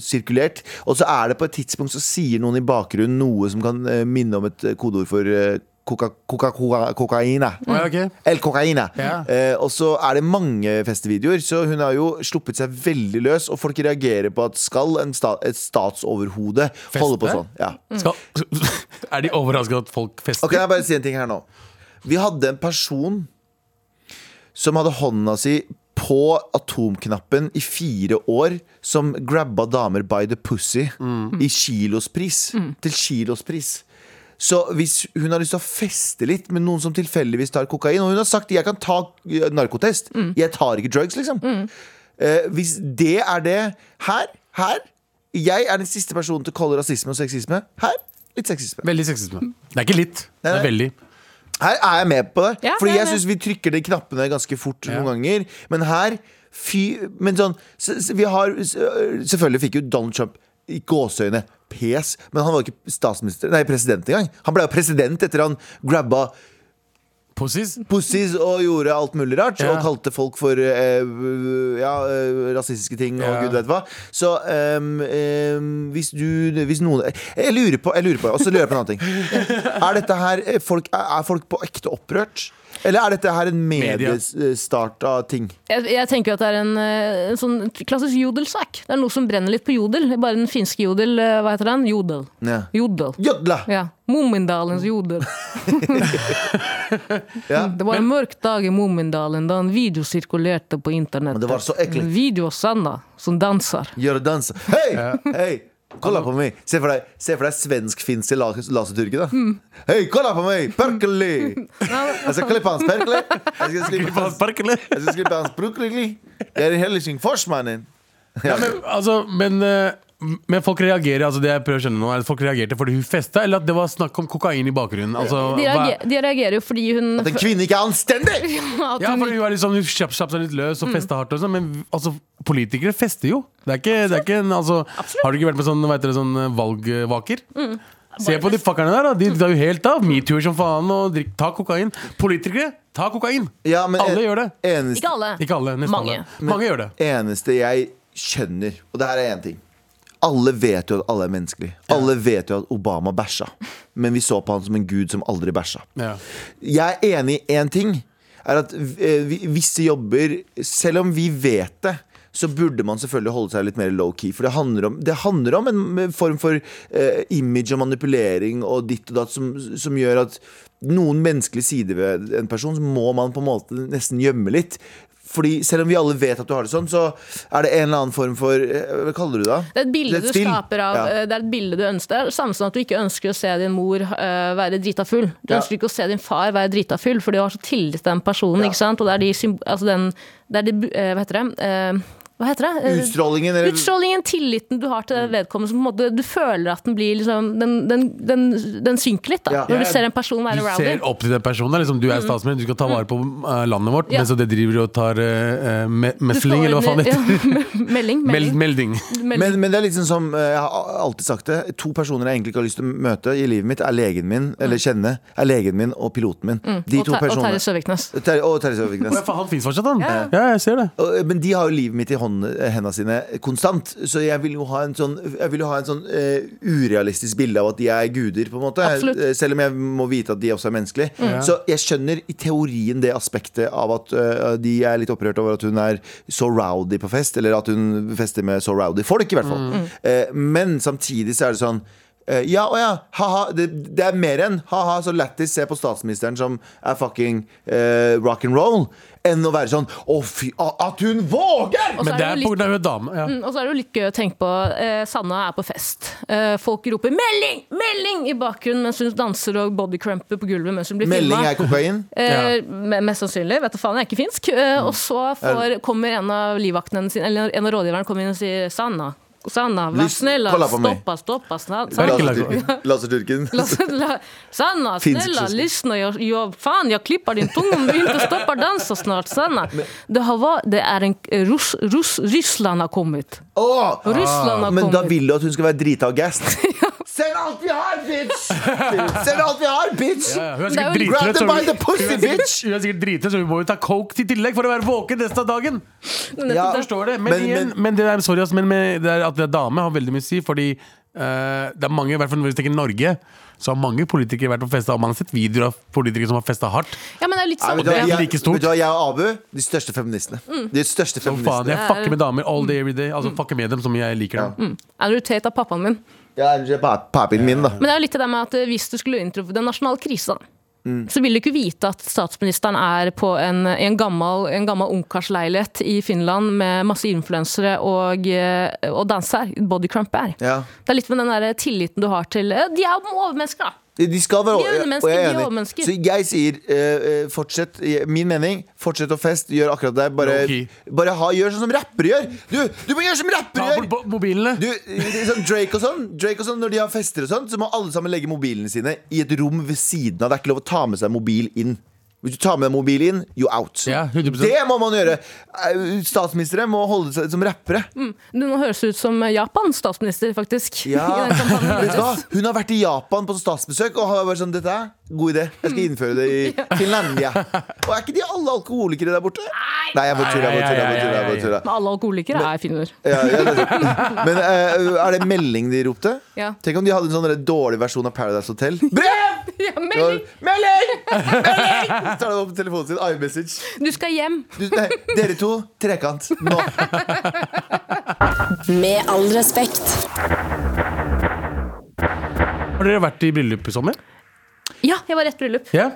Speaker 1: sirkulert. Og så er det på et tidspunkt så sier noen i bakgrunnen noe som kan eh, minne om et eh, kodeord for eh, coca- coca- coca- kokain. da.
Speaker 2: Å, ja, ok.
Speaker 1: El Cocaine.
Speaker 2: Ja.
Speaker 1: Eh, og så er det mange festvideoer, så hun har jo sluppet seg veldig løs. Og folk reagerer på at skal en sta et statsoverhode holde på
Speaker 2: Feste?
Speaker 1: sånn? Ja.
Speaker 2: Skal, er de overraska at folk fester?
Speaker 1: Ok, jeg bare si en ting her nå Vi hadde en person Som hadde hånda si på atomknappen i fire år Som grabba damer by the pussy I kilospris Til kilospris Så hvis hun har lyst til å feste litt Med noen som tilfeldigvis tar kokain Og hun har sagt, jeg kan ta eh, narkotest Jeg tar ikke drugs liksom Eh, hvis det er det her, her Jeg er den siste personen til å kalle rasisme og sexisme Her, litt sexisme
Speaker 2: Veldig sexisme. Det er ikke litt, det er
Speaker 1: Nei,
Speaker 2: veldig.
Speaker 1: her er jeg med på det.
Speaker 3: Ja,
Speaker 1: Fordi
Speaker 3: jeg er
Speaker 1: jeg
Speaker 3: med.
Speaker 1: syns vi trykker de knappene ganske fort
Speaker 2: Ja.
Speaker 1: noen ganger. Men her Fy Men sånn s- s- Vi har s- øh, Selvfølgelig fikk jo Donald Trump i gåseøyne pes, men han var jo ikke statsminister Nei, president engang. Han ble jo president etter han grabba
Speaker 2: Pussies?
Speaker 1: pussies og gjorde alt mulig rart.
Speaker 2: Ja.
Speaker 1: Og kalte folk for eh, ja, eh, rasistiske ting og
Speaker 2: Ja.
Speaker 1: gud vet hva. Så ehm, ehm, hvis du Hvis noen Jeg lurer på, jeg lurer på og så lurer jeg på en annen ting. Er dette her eh, folk, er er folk på ekte opprørt? Eller er dette her en
Speaker 2: Media.
Speaker 1: mediestarta ting?
Speaker 3: Jeg, jeg tenker jo at det er en, eh, en sånn klassisk jodelsak. Det er noe som brenner litt på jodel. Bare den finske jodel, eh, hva heter den? Jodel.
Speaker 1: Ja.
Speaker 3: Jodel.
Speaker 1: Jodla!
Speaker 3: Ja. Mumindalens jodel.
Speaker 1: Mm. Ja.
Speaker 3: Det var en mørk dag i Mumindalen da en video sirkulerte på internett.
Speaker 1: Men det var så ekkelt.
Speaker 3: En video av Sanna som danser.
Speaker 1: Gjøre dans. Hei! Hei! Kolla på meg! Se for deg, se for deg svensk-finske la- laserturker, da. Hei, kolla på meg! Perkeli! Jeg skal klippe hans perkeli. Jeg skal klippe hans Jeg skal skrive hans brukelig. Jeg er i Helsingforsmannen. Ja.
Speaker 2: Altså, men, eh, men folk reagerer altså det jeg prøver å skjønne nå, er at folk reagerte fordi hun festa, eller at det var snakk om kokain i bakgrunnen? Altså,
Speaker 3: De,
Speaker 2: hva-
Speaker 3: reager, de reagerer jo fordi hun
Speaker 1: At en kvinne ikke er anstendig!
Speaker 3: at
Speaker 2: ja,
Speaker 3: hun- Mm.
Speaker 2: for hun er liksom, hun kjapp, kjapp seg litt løs og festa hardt, og sånn, men altså, politikere fester jo. Det er ikke, det er ikke en, altså, har du ikke vært på sånn, hva heter det, sånn eh, valgvaker?
Speaker 3: Mm.
Speaker 2: Se på de fuckerne der, da. de tar jo helt av. Metoo som faen. Og drikk, ta kokain. Politikere, ta kokain!
Speaker 1: Ja, men
Speaker 2: Alle gjør det.
Speaker 3: Ikke
Speaker 1: Eneste,
Speaker 3: alle.
Speaker 2: Ikke alle. Nesten
Speaker 3: Mange.
Speaker 2: alle. Mange gjør det.
Speaker 1: eneste jeg skjønner, og det her er én ting Alle vet jo at alle er menneskelige. Alle vet jo at Obama bæsja. Men vi så på han som en gud som aldri bæsja.
Speaker 2: Ja.
Speaker 1: Jeg er enig i én ting. Er at eh, vi- visse jobber, selv om vi vet det, så burde man selvfølgelig holde seg litt mer low-key. For det handler, om, det handler om en form for eh, image og manipulering og ditt og datt som, som gjør at noen menneskelige sider ved en person så må man på en måte nesten gjemme litt. Fordi Selv om vi alle vet at du har det sånn, så er det en eller annen form for eh, Hva kaller du det? da?
Speaker 3: Det er et bilde
Speaker 1: Et
Speaker 3: du
Speaker 1: spill.
Speaker 3: skaper av
Speaker 1: Ja.
Speaker 3: eh, Det er et bilde du ønsker Det er det samme som at du ikke ønsker å se din mor eh, være drita full. Du
Speaker 1: Ja.
Speaker 3: ønsker ikke å se din far være drita full, for du har så tillit til den personen. ikke sant? Og det er de symb- altså den, det er de, bu- eh, Hva heter det? Eh, hva heter det? Eh,
Speaker 1: Utstrålingen eller
Speaker 3: Utstrålingen, tilliten du har
Speaker 1: Mm.
Speaker 3: til vedkommende, som på en måte, du føler at den blir liksom Den, den, den, den synker litt,
Speaker 1: Ja.
Speaker 3: da. Når du ser en person være
Speaker 2: Du
Speaker 3: rowdy.
Speaker 2: ser opp til den personen. det er Liksom, du er statsminister, du skal ta vare på eh, landet vårt,
Speaker 3: Mm. Ja.
Speaker 2: men så det driver og tar eh, eh, me
Speaker 3: Du skal
Speaker 2: mesling, eller hva faen det
Speaker 3: ordne-
Speaker 2: heter.
Speaker 3: Ja, me- melding.
Speaker 2: Meld
Speaker 3: melding,
Speaker 2: melding.
Speaker 3: melding.
Speaker 1: Men, men det er liksom som eh, jeg har alltid sagt det. To personer jeg egentlig ikke har lyst til å møte i livet mitt, er legen min, eller kjenne, er legen min og piloten min. De
Speaker 3: Mm. og
Speaker 1: to
Speaker 3: Ter- og
Speaker 1: personene.
Speaker 3: Terje Søviknes.
Speaker 1: Terje- Og Terje Søviknes.
Speaker 2: Ja, faen, han fins fortsatt, han.
Speaker 3: Ja.
Speaker 2: Ja, jeg ser det.
Speaker 1: Og- eh, Men de har jo livet mitt i hånd, eh, hendene sine konstant. Så jeg vil jo ha en sånn, jeg vil jo ha en sånn eh, urealistisk bilde av at de er guder, på en måte.
Speaker 3: Absolutt.
Speaker 1: Eh, Selv om jeg må vite at de også er menneskelige.
Speaker 3: Mm.
Speaker 1: Så jeg skjønner i teorien det aspektet av at eh, de er litt opprørt over at hun er så rowdy på fest, eller at hun fester med så rowdy folk, i hvert
Speaker 3: Mm.
Speaker 1: fall. Eh, men samtidig så er det sånn eh, ja, å ja, ha-ha, det, det er mer enn ha-ha, så lættis se på statsministeren som er fucking eh, rock and roll, enn å være sånn å fy, a- at hun våger!
Speaker 3: Og så
Speaker 2: Men det
Speaker 3: jo
Speaker 2: er
Speaker 3: litt-
Speaker 2: på grunn av hun dame. Ja.
Speaker 3: Mm, Og så er det jo litt gøy å tenke på eh, Sanna er på fest. Eh, folk roper 'melding! Melding!' i bakgrunnen mens hun danser og bodycrumper på gulvet mens hun blir
Speaker 1: Melding
Speaker 3: filma.
Speaker 1: er kokain.
Speaker 3: Eh, me- mest sannsynlig. Vet du faen, jeg er ikke finsk. Eh,
Speaker 1: Mm.
Speaker 3: og så får, kommer en av livvaktene hennes inn- eller en av rådgiverne kommer inn og sier 'Sanna, Sanna, vær
Speaker 1: Lyst-
Speaker 3: snill,
Speaker 1: kolla på meg.»
Speaker 3: stoppa, stoppa, snart.»
Speaker 2: Det er
Speaker 3: Sanna,
Speaker 2: ikke lagt-
Speaker 1: Laserturken. Laserturken.
Speaker 3: la- Sanna,
Speaker 1: Finsk
Speaker 3: snälla,
Speaker 1: syster.
Speaker 3: lyssna. Jag, jag, fan, jag klipper din tunga om du inte stoppar dansa snart, Sanna. Det, har var, det är en... Rus, rus, Ryssland har kommit.
Speaker 1: Åh!
Speaker 3: Russland har
Speaker 1: Ah, Men da
Speaker 3: kommet.
Speaker 1: vil du at hun skal være drita og gassed. Send alt vi har, bitch! Send alt vi har, bitch!
Speaker 2: Ja, ja, hun er
Speaker 3: Det er
Speaker 2: sikkert
Speaker 3: jo-
Speaker 1: Grab
Speaker 2: dritløs, så
Speaker 1: them by
Speaker 2: vi-
Speaker 1: the pussy, bitch!
Speaker 2: hun er sikkert dritløs, så vi må jo ta coke til tillegg for å være våken resten av dagen.
Speaker 1: Ja,
Speaker 2: Jeg forstår det, men,
Speaker 1: men-
Speaker 2: igjen,
Speaker 1: men-
Speaker 2: men, det er, sorry, ass, men med, det er at det er dame har veldig mye å si, fordi eh, det er mange, i hvert fall når vi tenker Norge, så har mange politikere vært på festa, og man har sett videoer av politikere som har festa hardt.
Speaker 3: Ja, men det er litt
Speaker 1: Nei,
Speaker 3: sånn.
Speaker 1: vet du hva,
Speaker 2: Det er
Speaker 1: jeg-
Speaker 2: like stort.
Speaker 1: Vet du hva, jeg og Abu, de største feministene. De største
Speaker 2: Så faen,
Speaker 1: feministene.
Speaker 2: jeg fucker med damer all day, every day. Altså
Speaker 3: Mm.
Speaker 2: fucker med dem som jeg liker dem.
Speaker 3: Andrew Tate er pappaen min.
Speaker 1: Ja, det er pa- Papien min, da.
Speaker 3: Men det er jo litt det der med at eh, hvis du skulle inntruffe den nasjonale krisa, da, så vil du ikke vite at statsministeren er på en, i en gammel, en gammel ungkarsleilighet i Finland med masse influensere og, eh, og danser. Bodycrump er.
Speaker 1: Ja.
Speaker 3: Det er litt med den der tilliten du har til eh, De er jo overmennesker, da!
Speaker 1: De de skal være
Speaker 3: De er
Speaker 1: og- og
Speaker 3: undermennesker,
Speaker 1: jeg er
Speaker 3: de er
Speaker 1: enig.
Speaker 3: overmennesker.
Speaker 1: Så jeg sier eh, eh, fortsett eh, Min mening, fortsett å feste, gjør akkurat det.
Speaker 2: Low
Speaker 1: Bare,
Speaker 2: key.
Speaker 1: bare ha, gjør sånn som rappere gjør! Du, du må gjøre som rappere
Speaker 2: Ta
Speaker 1: gjør!
Speaker 2: bort bo- mobilene!
Speaker 1: Du, det er sånn Drake og sånn Drake og sånn, Når de har fester og sånn Så må alle sammen legge mobilene sine I et rom ved siden av Det er ikke lov å ta med seg mobil inn Hvis du tar med deg mobil inn You out
Speaker 2: Ja, 100%.
Speaker 1: Det må man gjøre Eh, Statsministre må holde seg som rappere
Speaker 3: Du, nå høres det ut som Japans statsminister, faktisk.
Speaker 1: Ja.
Speaker 3: I den kampanjen.
Speaker 1: Vet du hva? Hun har vært i Japan på statsbesøk Og har vært sånn Dette er en god idé Jeg skal innføre det i Finlandia Og er ikke de alle alkoholikere der borte? Nei, jeg bare tuller Jeg bare tuller, jeg bare tuller, jeg bare tuller.
Speaker 3: Men alle alkoholikere er finner.
Speaker 1: ja, ja, det, Men eh, er det melding de ropte?
Speaker 3: Ja.
Speaker 1: Tenk om de hadde en sånn dårlig versjon av Paradise Hotel Brev!
Speaker 3: Ja,
Speaker 1: Det var,
Speaker 3: melding!
Speaker 1: Melding! Melding! Så tar de opp telefonen sin, iMessage.
Speaker 3: Du skal hjem!
Speaker 1: Du, nei, dere to, trekant. Nå.
Speaker 5: Med all respekt.
Speaker 2: Har dere vært i bryllup i sommer?
Speaker 3: Ja, jeg var rett bryllup.
Speaker 2: Ja?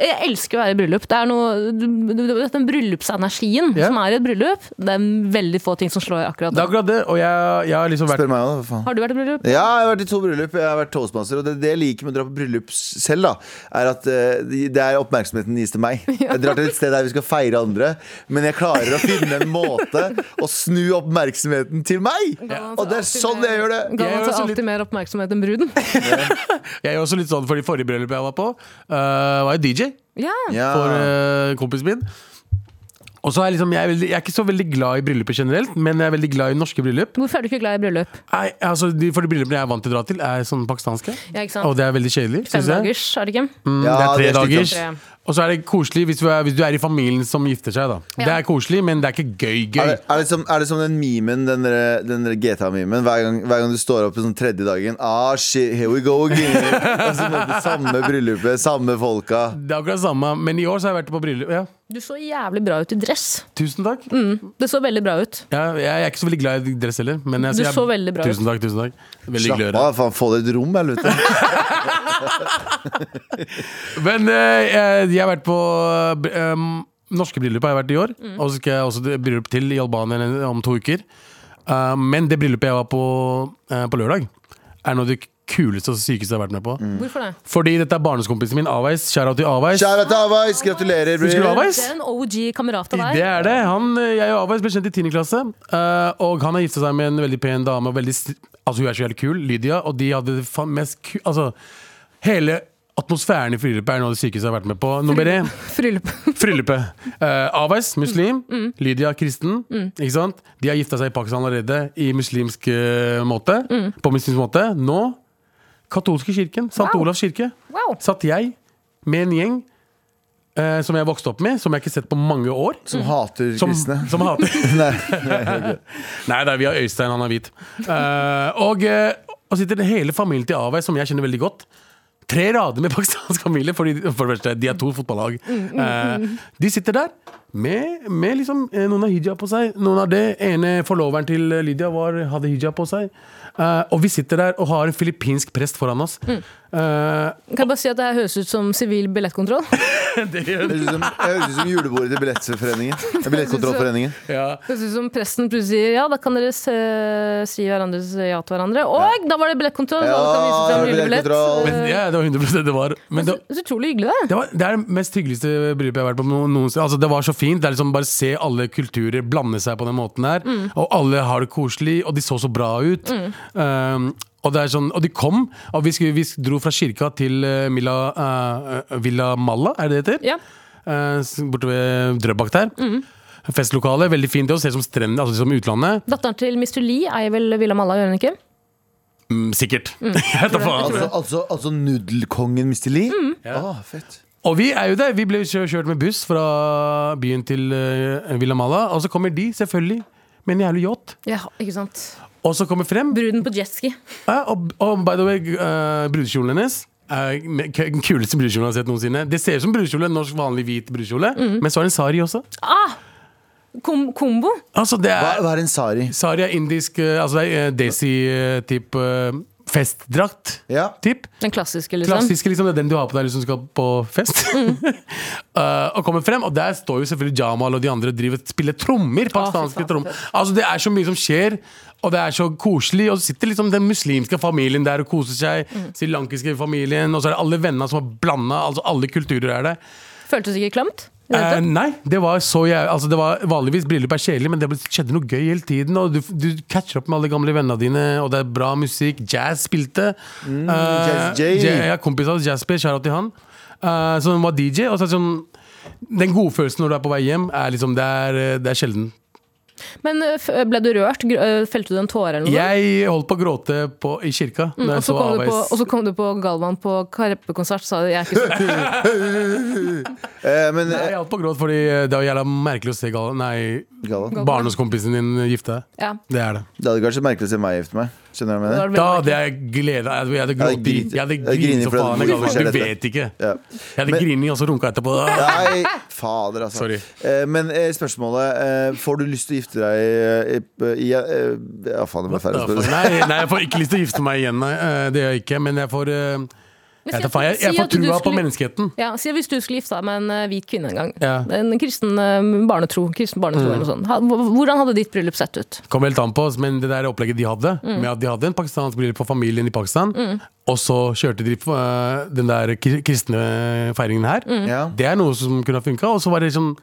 Speaker 3: Jeg elsker å være i bryllup. Det er noe, du- du- du- den bryllupsenergien
Speaker 2: Ja.
Speaker 3: som er i et bryllup, det er veldig få ting som slår akkurat
Speaker 2: Det er
Speaker 3: det.
Speaker 2: akkurat det, og jeg, jeg har liksom vært
Speaker 1: Spør meg òg, hva faen.
Speaker 3: Har du vært i bryllup?
Speaker 1: Ja, jeg har vært i to bryllup. Jeg har vært toastmaster. Og det, det jeg liker med å dra på bryllup selv, da, er at eh, det er oppmerksomheten gis til meg. Jeg drar til et sted der vi skal feire andre, men jeg klarer å finne en måte å snu oppmerksomheten til meg! Og det er sånn jeg gjør det.
Speaker 3: Ga
Speaker 2: Jeg
Speaker 3: han
Speaker 2: er
Speaker 3: seg
Speaker 2: også
Speaker 3: alltid
Speaker 2: litt-
Speaker 3: mer oppmerksomhet enn bruden?
Speaker 2: Jeg er også litt sånn for de forrige bryllupet jeg var på, eh, var jeg DJ.
Speaker 3: Ja.
Speaker 1: Ja.
Speaker 2: for eh, kompisen min. Og så er jeg, liksom, jeg, er veldig, jeg er ikke så veldig glad i brylluper generelt, men jeg er veldig glad i norske bryllup.
Speaker 3: Hvorfor er du ikke glad i bryllup?
Speaker 2: Nei, altså, de, for de bryllupene jeg er vant til å dra til, er sånn pakistanske.
Speaker 3: Ja, ikke sant?
Speaker 2: Og det er veldig kjedelig.
Speaker 3: Fem
Speaker 2: synes jeg.
Speaker 3: dagers, er det ikke?
Speaker 2: Mm,
Speaker 1: Ja,
Speaker 2: det er tre
Speaker 1: det er
Speaker 2: dagers.
Speaker 3: slitsomt.
Speaker 2: Og så er det koselig hvis du er, hvis du er i familien som gifter seg. da Det er koselig, men det er ikke
Speaker 1: Er
Speaker 2: gøy-gøy.
Speaker 1: det, er, det som, er det som den memen, den, der- den der GTA-memen? Hver, gang- hver gang du står opp på sånn tredje dagen Ah, shit, here we go again Og så på en måte samme bryllupet, samme folka
Speaker 2: Det er akkurat det samme, men i år så har jeg vært på bryllup. Ja.
Speaker 3: Du så jævlig bra ut i dress.
Speaker 2: Tusen takk.
Speaker 3: Mm, det så veldig bra ut.
Speaker 2: Jeg, jeg er ikke så veldig glad i dress heller. Men jeg,
Speaker 3: Du
Speaker 2: jeg,
Speaker 3: så veldig bra ut.
Speaker 2: tusen takk, tusen takk. Veldig hyggelig å
Speaker 1: Slapp
Speaker 2: høre.
Speaker 1: av, faen, få deg et rom, helvete.
Speaker 2: Men eh, jeg, jeg har vært på eh, um, Norske bryllup har jeg vært i år. Og så skal jeg også til bryllup til i Albania om to uker. Eh, men det bryllupet jeg var på eh, på lørdag, er noe av det kuleste og sykeste jeg har vært med på.
Speaker 3: Hvorfor det?
Speaker 2: Fordi dette er barneskompisen min, Aveis. Shout-out til Aveis.
Speaker 1: Kjære til Avais, gratulerer. bror.
Speaker 2: Husker du Aveis?
Speaker 3: Det er en OG-kamerat av
Speaker 2: Det
Speaker 3: deg.
Speaker 2: er det. Han, eh, jeg og Aveis ble kjent i 10. klasse. eh, og han har gifta seg med en veldig pen dame. Og veldig, sn- altså Hun er så jævlig kul, Lydia. Og de hadde det fa- mest ku... Altså, hele atmosfæren i bryllupet er noe av det sykeste jeg har vært med på. Nummer én,
Speaker 3: Fryllup.
Speaker 2: bryllupet. Eh, Aveis, muslim. Lydia, kristen. Ikke sant? De har gifta seg i Pakistan allerede, i muslimsk eh, måte. På muslimsk måte. Nå, katolske kirken. St.
Speaker 3: Wow.
Speaker 2: Olavs kirke
Speaker 3: Wow.
Speaker 2: satt jeg med en gjeng eh, som jeg vokste opp med, som jeg ikke har sett på mange år.
Speaker 1: Som hater
Speaker 2: Som,
Speaker 1: kristne.
Speaker 2: som hater
Speaker 1: Nei.
Speaker 2: Nei, det er vi har Øystein, han er hvit. Eh, og, eh, og sitter det hele familien til Avei, som jeg kjenner veldig godt. Tre rader med pakistansk familie, fordi, for det første, de er to fotballag. Eh, de sitter der med, med liksom, eh, noen har hijab på seg. Noen av det ene forloveren til eh, Lydia var, hadde hijab på seg. Eh, og vi sitter der og har en filippinsk prest foran oss. Eh,
Speaker 3: Kan jeg bare si at det her høres ut som sivil billettkontroll?
Speaker 2: det gjør
Speaker 1: Det høres ut som, det høres ut som julebordet til Billettforeningen. Billettkontrollforeningen.
Speaker 2: Ja.
Speaker 3: Høres ut som presten plutselig sier ja, da kan dere se, si hverandres ja til hverandre. Og da var det billettkontroll!
Speaker 1: Ja,
Speaker 3: Ja, kan vise
Speaker 1: det
Speaker 3: frem
Speaker 1: var
Speaker 3: lillebillett.
Speaker 1: billettkontroll.
Speaker 2: Men, ja, det var 100 det var. Men det,
Speaker 3: Så utrolig hyggelig, det.
Speaker 2: det, var, det er det mest hyggeligste bryllupet jeg har vært på noen- noensinne. Altså, det var så fint. Det er liksom Bare se alle kulturer blande seg på den måten her. Og alle har det koselig, og de så så bra ut. Um, og, det er sånn, og de kom, og vi, skulle, vi dro fra kirka til eh, Milla, eh, Villa Malla, er det det heter?
Speaker 3: Ja.
Speaker 2: Eh, s- borte ved Drøbak der. Festlokale, veldig fint. Det å se som strendene, altså som utlandet.
Speaker 3: Datteren til Mr. Lee eier vel Villa Malla, gjør hun ikke?
Speaker 2: Mm, sikkert. Jeg vet da faen.
Speaker 1: Altså, altså, altså nudelkongen Mr. Lee?
Speaker 2: Mm.
Speaker 1: Ah, fett.
Speaker 2: Og vi er jo der. Vi ble kjø- kjørt med buss fra byen til eh, Villa Mala. Og så kommer de, selvfølgelig, med en jævlig yacht.
Speaker 3: Ja, ikke sant.
Speaker 2: Og så kommer frem.
Speaker 3: Bruden på jetski.
Speaker 2: Ja, og, og by the way, eh, brudekjolen hennes er k- den kuleste brudekjolen jeg har sett noensinne. Det ser ut som brudekjole, en norsk vanlig hvit brudekjole, men så er det en sari også.
Speaker 3: Ah! Kom kombo.
Speaker 2: Altså, det
Speaker 1: Hva,
Speaker 2: er,
Speaker 1: hva er en sari?
Speaker 2: sari er indisk eh, Altså, det er desi-type eh, festdrakt.
Speaker 1: Ja.
Speaker 2: Typ.
Speaker 3: Den klassiske, liksom. Mm.
Speaker 2: Klassiske, liksom, det er den du har på deg hvis du skal på fest. uh, og kommer frem, og der står jo selvfølgelig Jamal og de andre og driver, spiller trommer.
Speaker 3: fy
Speaker 2: pakistanske
Speaker 3: faen,
Speaker 2: trommer. Altså Det er så mye som skjer, og det er så koselig. Og så sitter liksom den muslimske familien der og koser
Speaker 3: Mm.
Speaker 2: seg. Srilankiske familien, og så er det alle vennene som er blanda. Altså alle kulturer er der.
Speaker 3: Føltes ikke klamt?
Speaker 2: Eh, nei, det var så jæv- altså, det var Vanligvis bryllup er kjedelig, men det ble- skjedde noe gøy hele tiden. Og du, du catcher opp med alle gamle vennene dine, og det er bra musikk. Jazz spilte. Mm,
Speaker 1: Jazz J.
Speaker 2: ja, kompis av Jasper, kjære til han. Eh, så han var DJ. Og så, er det sånn, den godfølelsen når du er på vei hjem, er liksom, det, er, eh, det er sjelden.
Speaker 3: Men ø, f- ble du rørt? Gr- ø, Felte du en tåre eller noe?
Speaker 2: Jeg holdt på å gråte på, i kirka.
Speaker 3: Mm,
Speaker 2: når jeg
Speaker 3: og, så
Speaker 2: så
Speaker 3: kom du
Speaker 2: Abeis.
Speaker 3: på, og så kom du på Galvan på Karpe-konsert, sa du. Jeg er ikke så
Speaker 1: Eh, men
Speaker 2: Nei,
Speaker 1: eh,
Speaker 2: jeg holdt på å gråte fordi det var jævla merkelig å se gal Nei,
Speaker 1: Galvan,
Speaker 2: barndomskompisen din gifte deg.
Speaker 3: ja.
Speaker 2: Det er det.
Speaker 1: det hadde kanskje merkelig å se meg gifte meg. Skjønner du hva jeg
Speaker 3: Det
Speaker 1: mener?
Speaker 3: var
Speaker 2: Da
Speaker 3: veldig
Speaker 2: hadde jeg gleda Jeg hadde
Speaker 1: Jeg hadde
Speaker 2: grått i-
Speaker 1: grit-
Speaker 2: Jeg hadde
Speaker 1: jeg hadde grinet
Speaker 2: grinet så
Speaker 1: fordi
Speaker 2: faen.
Speaker 1: det
Speaker 2: Jeg
Speaker 1: var
Speaker 2: hadde- Du
Speaker 1: forskjellig.
Speaker 2: vet ikke. Jeg
Speaker 1: Ja.
Speaker 2: hadde
Speaker 1: Men-
Speaker 2: grining og så runka etterpå. Ah.
Speaker 1: Nei, fader, altså.
Speaker 2: Sorry.
Speaker 1: Eh, men eh, spørsmålet eh, Får du lyst til å gifte deg eh, i, i eh, Ja, faen, det ble feil å spørre.
Speaker 2: Nei, nei, jeg får ikke lyst til å gifte meg igjen. Nei. Eh, Det gjør jeg ikke. Men jeg får, eh, jeg, vet da faen, jeg, jeg
Speaker 3: si
Speaker 2: får
Speaker 3: at du
Speaker 2: trua på
Speaker 3: skulle-
Speaker 2: menneskeheten.
Speaker 3: Ja, si hvis du skulle gifte deg med en ø, hvit kvinne en gang.
Speaker 2: Ja. Mm.
Speaker 3: En kristen ø, barnetro. Kristen barnetro eller noe sånt. Ha- hv- Hvordan hadde ditt bryllup sett ut?
Speaker 2: Kom helt an på, oss, men det der opplegget de hadde,
Speaker 3: Mm.
Speaker 2: med at de hadde en pakistansk bryllup for familien i Pakistan, og så kjørte de eh, den der kri- kristne feiringen her,
Speaker 3: Mm.
Speaker 1: Ja.
Speaker 2: det er noe som kunne ha funka. Og så var det sånn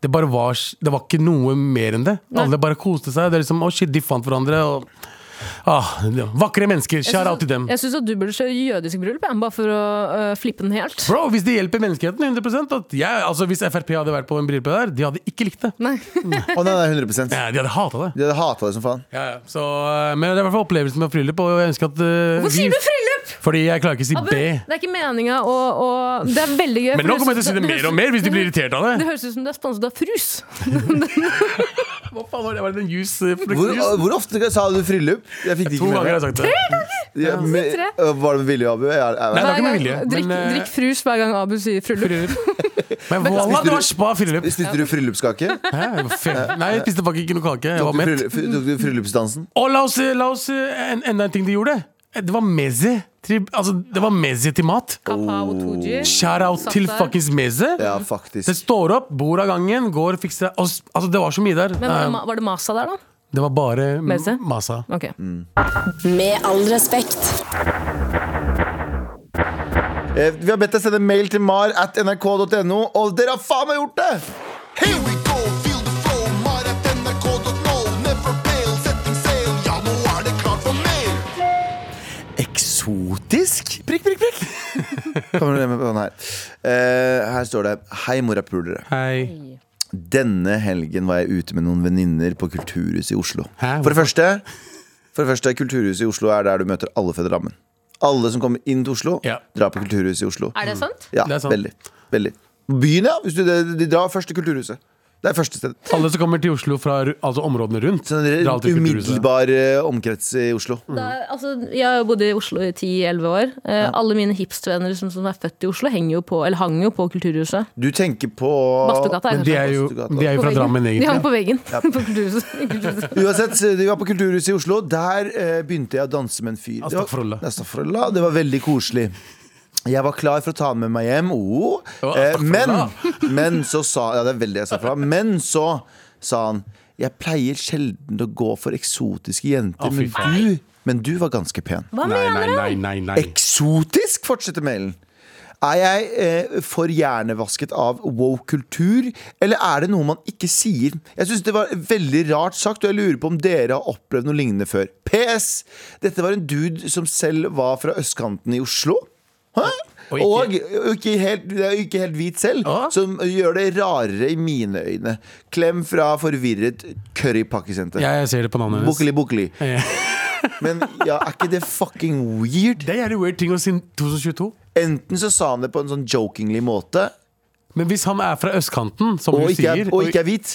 Speaker 2: det, bare var, s- det var ikke noe mer enn det. Alle bare koste seg. Det er liksom, å shit, De fant hverandre. Og, ah, ja. vakre mennesker. Shout out til dem.
Speaker 3: Jeg syns at du burde kjøre jødisk bryllup, jeg, bare for å ø, flippe den helt.
Speaker 2: Bro, Hvis det hjelper menneskeheten 100 at jeg, altså Hvis Frp hadde vært på en bryllup der, de hadde ikke likt det.
Speaker 3: Nei.
Speaker 1: Å nei, nei, 100
Speaker 2: Ja, de hadde hata det.
Speaker 1: De hadde hata det som faen.
Speaker 2: Ja, ja. Så, eh, men det er i hvert fall opplevelsen med bryllup. Og jeg ønsker at eh,
Speaker 3: Hvorfor sier du bryllup?!
Speaker 2: Fordi jeg klarer ikke å si
Speaker 3: Abu,
Speaker 2: B.
Speaker 3: Det er ikke meninga å, å Det er veldig gøy.
Speaker 2: Men nå kommer jeg til å si det mer og mer hvis de blir irritert av
Speaker 3: Det
Speaker 2: det.
Speaker 3: høres ut som du er sponset av Frus.
Speaker 2: Hva faen var det? Var det den juice? eh,
Speaker 1: Hvor,
Speaker 2: fruktjuice?
Speaker 1: hvor ofte sa du fryllup? Jeg fikk det
Speaker 2: To
Speaker 1: ikke
Speaker 2: ganger altså. har
Speaker 1: med
Speaker 2: jeg
Speaker 1: meg.
Speaker 2: sagt det.
Speaker 1: Ja, men- eh,
Speaker 3: Tre.
Speaker 1: Var det med vilje, Abu? Jeg er- jeg er-
Speaker 2: Nei, det var ikke med
Speaker 3: Hver
Speaker 2: vilje.
Speaker 3: gang- Drikk,
Speaker 2: men, eh,
Speaker 3: drikk Frus hver gang Abu sier fryllup.
Speaker 2: Men wallah, det
Speaker 1: Spiste du-
Speaker 2: var spa friløp.
Speaker 1: Spiste du bryllupskake?
Speaker 2: Hæ? Fe- Nei, jeg spiste faktisk ikke noe kake. Jeg
Speaker 1: Tok
Speaker 2: var
Speaker 1: du
Speaker 2: mett.
Speaker 1: bryllup- tok du bryllupsdansen?
Speaker 2: Og la oss, la oss eh, en, enda en ting de gjorde. Eh, Det var meze. Til, altså, det var meze til mat.
Speaker 3: Kapao Tooji.
Speaker 2: Oh. Shout out
Speaker 3: Satt
Speaker 2: til
Speaker 3: der.
Speaker 2: fuckings meze.
Speaker 1: Ja,
Speaker 2: Det
Speaker 1: faktisk.
Speaker 2: står opp, bor av gangen, går og fikser og s- Altså, det var så mye der.
Speaker 3: Men var det,
Speaker 2: Eh,
Speaker 3: ma- var det Masa der, da?
Speaker 2: Det var bare m-
Speaker 3: Meze?
Speaker 2: masa.
Speaker 3: Ok.
Speaker 5: Med all respekt.
Speaker 1: Eh, Vi har bedt deg sende mail til mar at nrk.no, og dere har faen meg gjort det!
Speaker 6: Here we go, feel the flow. Mar at nrk.no. Never fail, setting sail. Ja, nå er det klart for mer.
Speaker 1: Eksotisk? Prikk, prikk, prikk. Kommer det med på den her. Eh, her står det Hei, morapulere.
Speaker 2: Hei.
Speaker 1: Denne helgen var jeg ute med noen venninner på Kulturhuset i Oslo.
Speaker 2: Hæ?
Speaker 1: For det første, for det første Kulturhuset i Oslo er der du møter alle føderammen. Alle som kommer inn til Oslo,
Speaker 2: Ja.
Speaker 1: drar på Kulturhuset i Oslo.
Speaker 3: Er det sant?
Speaker 1: Ja,
Speaker 2: Det er sant.
Speaker 1: veldig. veldig. Byen, ja. Hvis du, de, de drar først til Kulturhuset. Det er første sted.
Speaker 2: Alle som kommer til Oslo fra ru- altså områdene rundt.
Speaker 1: Sånn
Speaker 2: drar alltid til kulturhuset.
Speaker 1: umiddelbar eh, omkrets i Oslo.
Speaker 3: Da, altså, jeg har jo bodd i Oslo i 10-11 år. Eh, Alle mine hipstervenner som, som er født i Oslo, henger jo på, eller hang jo på Kulturhuset.
Speaker 1: Du tenker på
Speaker 3: Bastugata er
Speaker 2: Men de
Speaker 3: kanskje
Speaker 2: er jo,
Speaker 1: sånn
Speaker 2: de er jo
Speaker 3: på
Speaker 2: fra
Speaker 3: veggen.
Speaker 2: Drammen,
Speaker 3: De hang
Speaker 2: egentlig.
Speaker 3: på veggen på Kulturhuset. i Kulturhuset.
Speaker 1: Uansett, eh, vi var på Kulturhuset i Oslo. Der eh, begynte jeg å danse med en fyr. Det var-
Speaker 2: Astagfirullah.
Speaker 1: Astagfirullah. Det var veldig koselig. Jeg var klar for å ta han med meg hjem, oh.
Speaker 2: var
Speaker 1: eh, men,
Speaker 2: astagfirullah.
Speaker 1: men så sa Ja, det er veldig astagfirullah. Men så sa han Jeg pleier sjelden å gå for eksotiske jenter,
Speaker 2: Å, fy
Speaker 1: men,
Speaker 2: faen.
Speaker 1: du, men du var ganske pen.
Speaker 3: Hva
Speaker 2: Nei,
Speaker 3: mener
Speaker 2: nei,
Speaker 3: du?
Speaker 2: nei, nei, nei.
Speaker 1: Eksotisk, fortsetter mailen. Er jeg eh, for hjernevasket av wow-kultur, eller er det noe man ikke sier? Jeg synes det var veldig rart sagt, og jeg lurer på om dere har opplevd noe lignende før. PS. Dette var en dude som selv var fra østkanten i Oslo. Hæ?
Speaker 2: Og
Speaker 1: Og,
Speaker 2: ikke-
Speaker 1: og ikke, helt, det er jo ikke helt hvit selv,
Speaker 2: Å?
Speaker 1: som gjør det rarere i mine øyne. Klem fra forvirret currypakkesenter.
Speaker 2: Jeg ser det på navnet hennes.
Speaker 1: Bukkeli, bukkeli.
Speaker 2: Ja.
Speaker 1: Men ja, er ikke det fucking weird?
Speaker 2: Det er jævlig weird ting å si 2022.
Speaker 1: Enten så sa han det på en sånn jokingly måte,
Speaker 2: Men hvis han er fra østkanten, som du
Speaker 1: og ikke,
Speaker 2: sier
Speaker 1: er, og ikke er hvit,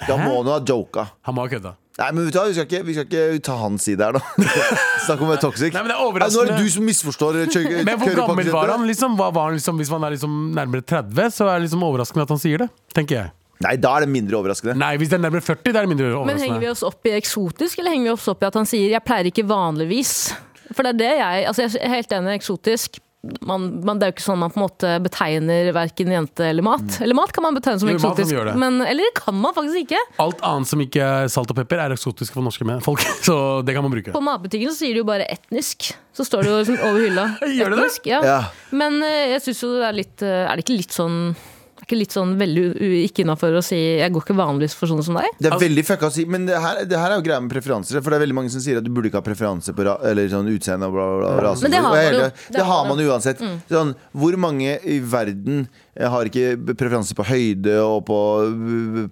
Speaker 1: da
Speaker 2: Hæ?
Speaker 1: må han jo ha joka.
Speaker 2: Han må ha kødda.
Speaker 1: Nei, men vet du hva, vi skal ikke, vi skal ikke ta hans side her, da. Snakk om å være toxic.
Speaker 2: Nei, men det er
Speaker 1: Ja, Nå er
Speaker 2: overraskende.
Speaker 1: det du som misforstår. kjø-
Speaker 2: Men hvor gammel
Speaker 1: currypakkesenteret.
Speaker 2: var han? Liksom, hva var han liksom, hvis man er liksom nærmere 30, så er det liksom overraskende at han sier det. Tenker jeg
Speaker 1: Nei, da er det mindre overraskende.
Speaker 2: Nei, hvis det er nærmere 40, da er det mindre
Speaker 3: Men henger vi
Speaker 2: overraskende.
Speaker 3: oss opp i eksotisk, eller henger vi oss opp i at han sier 'jeg pleier ikke vanligvis'? For det er det jeg altså Jeg er helt enig, eksotisk. Man, man, det er jo ikke sånn man på en måte betegner verken jente eller mat. Eller mat kan man betegne som
Speaker 2: Mm. Jo, mat kan
Speaker 3: eksotisk,
Speaker 2: vi gjøre det.
Speaker 3: men eller kan man faktisk ikke.
Speaker 2: Alt annet som ikke er salt og pepper, er eksotisk for norske menn. folk. Så det kan man bruke.
Speaker 3: På matbutikken så sier de jo bare 'etnisk'. Så står det jo liksom over hylla.
Speaker 2: Gjør det det?
Speaker 3: Etnisk, Ja.
Speaker 1: Ja.
Speaker 3: Men eh, jeg syns jo det er litt eh, Er det ikke litt sånn er ikke litt sånn veldig u- u- ikke innafor å si 'jeg går ikke vanligvis for sånne som deg'?
Speaker 1: Det er veldig fucka å si, men det her, det her er jo greia med preferanser. For det er veldig mange som sier at du burde ikke ha preferanse på ra eller sånn utseende og bla, bla, bla. rase.
Speaker 3: Men det har
Speaker 1: Og
Speaker 3: man
Speaker 1: hele-
Speaker 3: jo.
Speaker 1: Det, har man jo uansett. Sånn, hvor mange i verden eh, har ikke preferanse på høyde og på,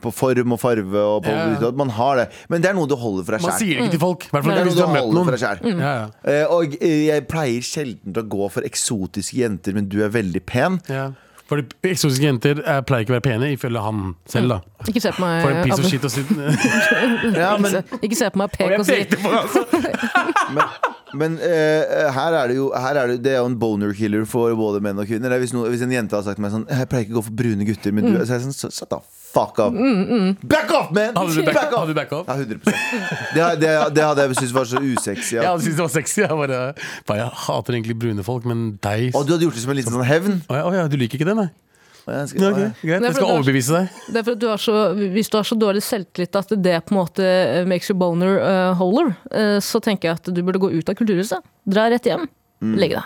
Speaker 1: på form og farve? Og på,
Speaker 2: Ja.
Speaker 1: utad? Man har det. Men det er noe du holder for deg
Speaker 2: Man
Speaker 1: sjæl.
Speaker 3: Mm.
Speaker 2: sier det ikke til folk. I hvert fall
Speaker 1: Det
Speaker 2: ikke
Speaker 1: er
Speaker 2: hvis du
Speaker 1: noe du
Speaker 2: har møtt
Speaker 1: holder for
Speaker 2: noen.
Speaker 1: deg selv.
Speaker 2: Ja, ja.
Speaker 1: Eh, Og eh, jeg pleier sjelden å gå for eksotiske jenter, men du er veldig pen.
Speaker 2: Ja. For eksotiske jenter eh, pleier ikke å være pene, ifølge han selv, da.
Speaker 3: Ikke se på meg.
Speaker 2: For en piece
Speaker 3: Abu.
Speaker 2: of shit å si. Og
Speaker 1: Ja, men
Speaker 3: Ikke se- Ikke se på meg pek
Speaker 2: jeg
Speaker 3: og si
Speaker 2: pekte på han, altså.
Speaker 1: Men, men eh, her er det jo her er det, det er jo en boner killer for både menn og kvinner. Det er Hvis, noen, hvis en jente har sagt til meg sånn Jeg pleier ikke å gå for brune gutter,
Speaker 2: Mm.
Speaker 1: men du så er jeg sånn, "Så- Shut the fuck up! Back off, man!
Speaker 2: Hadde du back- hadde du back off?
Speaker 1: Ja, 100 det, har- det, det hadde jeg syntes var så usexy.
Speaker 2: Jeg
Speaker 1: Ja.
Speaker 2: hadde syntes det var sexy. Jeg bare, bare jeg hater egentlig brune folk, men deg
Speaker 1: Og du hadde gjort det som en liten sånn hevn.
Speaker 2: Å ja, å ja, du liker ikke det, nei?
Speaker 1: Og jeg skal-
Speaker 2: Ja, ok, greit, jeg
Speaker 3: Nei, for
Speaker 2: skal
Speaker 3: det var-
Speaker 2: overbevise deg.
Speaker 3: Det er for at du har så, Hvis du har så dårlig selvtillit at det på en måte eh, makes you boner eh, holer, eh, så tenker jeg at du burde gå ut av kulturhuset. Dra rett hjem.
Speaker 1: Mm.
Speaker 3: Legge deg.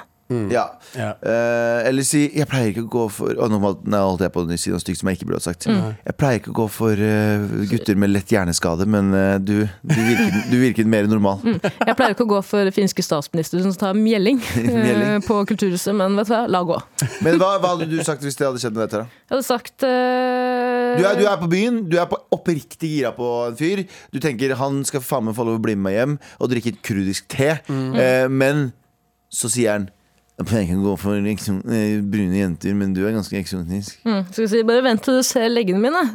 Speaker 1: Ja.
Speaker 2: Ja.
Speaker 1: Eh, eller si 'jeg pleier ikke å gå for' Å, nå må- nå holdt jeg på å si noe stygt som jeg ikke burde ha sagt.
Speaker 2: Mm.
Speaker 1: 'Jeg pleier ikke å gå for eh, gutter med lett hjerneskade, men eh, du, du, virker, du virker mer
Speaker 2: Mm.
Speaker 1: normal'.
Speaker 3: Jeg pleier ikke å gå for finske statsminister som tar mjelling, eh,
Speaker 1: Mjelling.
Speaker 3: på kulturhuset, men vet du hva, la gå.
Speaker 1: Men hva, hva hadde du sagt hvis det hadde skjedd med dette? da?
Speaker 3: Jeg hadde sagt eh,
Speaker 1: Du er, du er på byen, du er på oppriktig gira på en fyr. Du tenker han skal faen meg få lov å bli med meg hjem og drikke et kurdisk te. Eh, men så sier han jeg pleier ikke å gå for ekso- eh, brune jenter, men du er ganske eksotisk.
Speaker 3: mm, Skal vi si, bare vent til du ser leggene mine. Eh,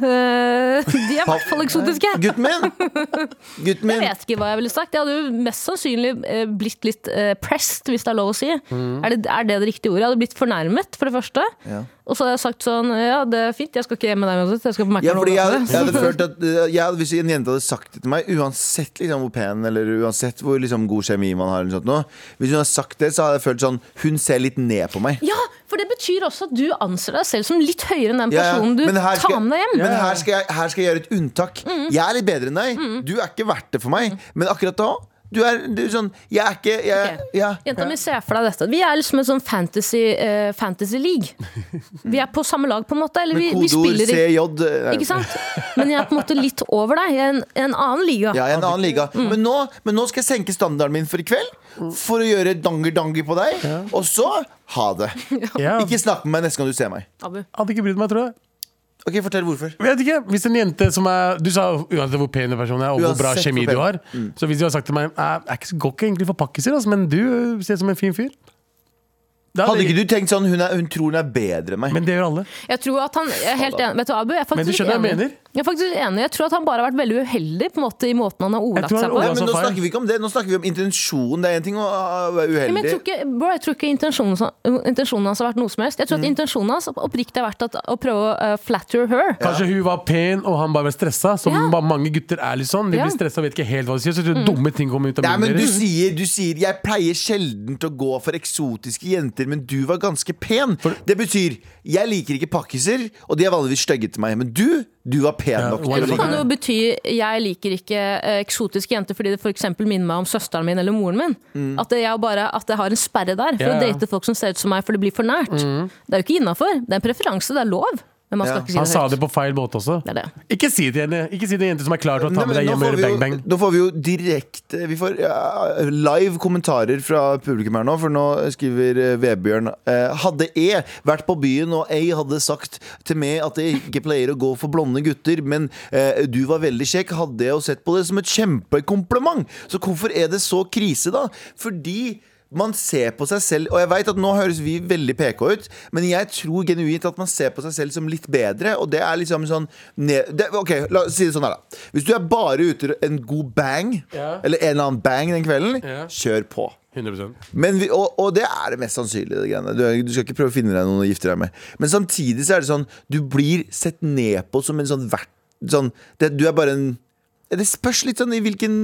Speaker 3: de er i hvert fall eksotiske.
Speaker 1: Gutten min! Gutten
Speaker 3: Jeg
Speaker 1: min!
Speaker 3: vet ikke hva jeg ville sagt. Jeg hadde jo mest sannsynlig eh, blitt litt eh, pressed, hvis det er lov å si. Er, det, er det det riktige ordet? Jeg hadde blitt fornærmet, for det første.
Speaker 1: Mm. Ja.
Speaker 3: Og så hadde jeg sagt sånn Ja, det er fint, jeg skal ikke hjem med deg uansett. Jeg skal på
Speaker 1: Ja, fordi jeg,
Speaker 3: McDonald's.
Speaker 1: jeg hadde følt at eh, jeg, hadde- Hvis en jente hadde sagt det til meg, uansett liksom, hvor pen eller uansett hvor liksom, god kjemi man har, eller noe sånt, nå, hvis hun hadde sagt det, så hadde jeg følt sånn Hun ser litt ned på meg.
Speaker 3: Ja, for det betyr også at du anser deg selv som litt høyere enn den
Speaker 1: Ja, ja.
Speaker 3: personen du
Speaker 1: Men her skal-
Speaker 3: tar med deg hjem. Mm.
Speaker 1: Men her skal, jeg, her skal jeg gjøre et unntak. Jeg er litt bedre enn deg. Du er ikke verdt det for meg. Men akkurat da du er, du er sånn Jeg er ikke jeg,
Speaker 3: Ok.
Speaker 1: ja.
Speaker 3: Jenta mi, se for deg dette. Vi er liksom en sånn fantasy, eh, fantasy league. Vi er på samme lag, på en måte. Eller vi, vi
Speaker 1: Kodeord
Speaker 3: spiller i
Speaker 1: CJ. eh,
Speaker 3: Ikke sant? Men jeg er på en måte litt over deg. Jeg er en, en annen liga.
Speaker 1: Ja, i en annen liga.
Speaker 3: Mm.
Speaker 1: Men, nå, men nå skal jeg senke standarden min for i kveld. For å gjøre danger-danger på deg. Og så ha det.
Speaker 2: Ja.
Speaker 1: Ikke snakk med meg neste gang du ser meg.
Speaker 3: Abu.
Speaker 2: Hadde ikke brydd meg, tror jeg.
Speaker 1: Ok, Fortell hvorfor.
Speaker 2: Vet ikke, Hvis en jente som er Du sa uansett hvor pen en person er, og hvor bra
Speaker 1: Uansett
Speaker 2: kjemi
Speaker 1: hvor pen. Mm.
Speaker 2: du har. Så hvis du har sagt til meg Jeg er ikke så godt egentlig for pakkiser, altså, men du øh, ser ut som en fin fyr. Da
Speaker 1: Hadde
Speaker 2: hadde-
Speaker 1: ikke du tenkt sånn hun, er, hun tror hun er bedre enn meg?
Speaker 2: Men det gjør alle.
Speaker 3: Jeg tror at han jeg er helt enig. Vet du, hva, Abu, jeg er
Speaker 2: Men du
Speaker 3: faktisk
Speaker 2: skjønner hva jeg
Speaker 3: enig.
Speaker 2: mener?
Speaker 3: Jeg er faktisk enig. Jeg tror at han bare har vært veldig uheldig på en måte, i måten han har
Speaker 2: Jeg
Speaker 3: ordlagt
Speaker 2: tror
Speaker 3: seg
Speaker 2: han
Speaker 3: på.
Speaker 1: Nei,
Speaker 2: altså,
Speaker 1: men nå
Speaker 2: feil.
Speaker 1: snakker vi ikke om det. Nå snakker vi om intensjon. Det er én ting å å være
Speaker 3: Ja, Men jeg
Speaker 1: uheldig.
Speaker 3: tror ikke, bro, jeg tror ikke intensjonen, som- intensjonen hans har vært noe som helst. Jeg tror at
Speaker 2: Mm.
Speaker 3: intensjonen hans oppriktig har vært at, å prøve å eh, flatter her.
Speaker 2: Kanskje hun var pen, og han bare var stressa. Som
Speaker 3: Ja.
Speaker 2: ba- mange gutter er litt sånn. De
Speaker 3: Ja.
Speaker 2: blir stressa og vet ikke helt hva de sier. Så tror jeg dumme ting kommer ut av
Speaker 1: Nei, men
Speaker 2: munnen
Speaker 1: du
Speaker 2: deres.
Speaker 1: sier, du sier Jeg pleier sjelden til å gå for eksotiske jenter Men du var ganske pen Det betyr, jeg liker ikke pakkiser Og de er vanligvis stygge til meg Men du, du var pen
Speaker 2: Ja,
Speaker 1: nok
Speaker 2: why
Speaker 1: til å
Speaker 3: Det
Speaker 2: the
Speaker 1: like
Speaker 3: kan
Speaker 2: fuck?
Speaker 1: meg.
Speaker 3: jo bety jeg liker ikke eh, eksotiske jenter fordi det f.eks. minner meg om søsteren min eller moren min. At, det- jeg bare, at jeg har en sperre der for
Speaker 2: Mm. Ja, ja.
Speaker 3: å date folk som ser ut som meg, for det blir for nært. Det er jo ikke innafor. Det er en preferanse, det er lov. Men man skal
Speaker 1: Ja.
Speaker 2: Han
Speaker 3: ikke si
Speaker 2: sa
Speaker 3: det høyt.
Speaker 2: det på feil båt også.
Speaker 3: Det er det.
Speaker 2: Ikke si det til henne. Ikke si det til en jente som er klar til å
Speaker 1: Nei,
Speaker 2: ta med
Speaker 1: men
Speaker 2: deg
Speaker 1: nå
Speaker 2: hjem
Speaker 1: får
Speaker 2: og
Speaker 1: vi
Speaker 2: gjøre
Speaker 1: jo-
Speaker 2: bang-bang.
Speaker 1: Nå får vi jo direkte Vi får ja, live kommentarer fra publikum her nå For nå skriver eh, Vebjørn eh, Hadde E vært på byen Og E hadde sagt til meg At jeg ikke pleier å gå for blonde gutter Men eh, du var veldig kjekk Hadde jeg jo sett på det som et kjempekompliment Så hvorfor er det så krise da? Fordi man ser på seg selv Og jeg vet at nå høres vi veldig PK ut Men jeg tror genuint at man ser på seg selv som litt bedre Og det er liksom sånn ned, det, Ok, la oss si det sånn her da Hvis du er bare ute etter en god bang
Speaker 2: Ja.
Speaker 1: Eller en eller annen bang den kvelden
Speaker 2: Ja.
Speaker 1: Kjør på
Speaker 2: 100%
Speaker 1: men vi, og, og det er det mest sannsynlige. Det greiene. du, du skal ikke prøve å finne deg noen å gifte deg med. Men samtidig så er det sånn du blir sett ned på som en sånn vert... Sånn, det, du er bare en Det spørs litt sånn i hvilken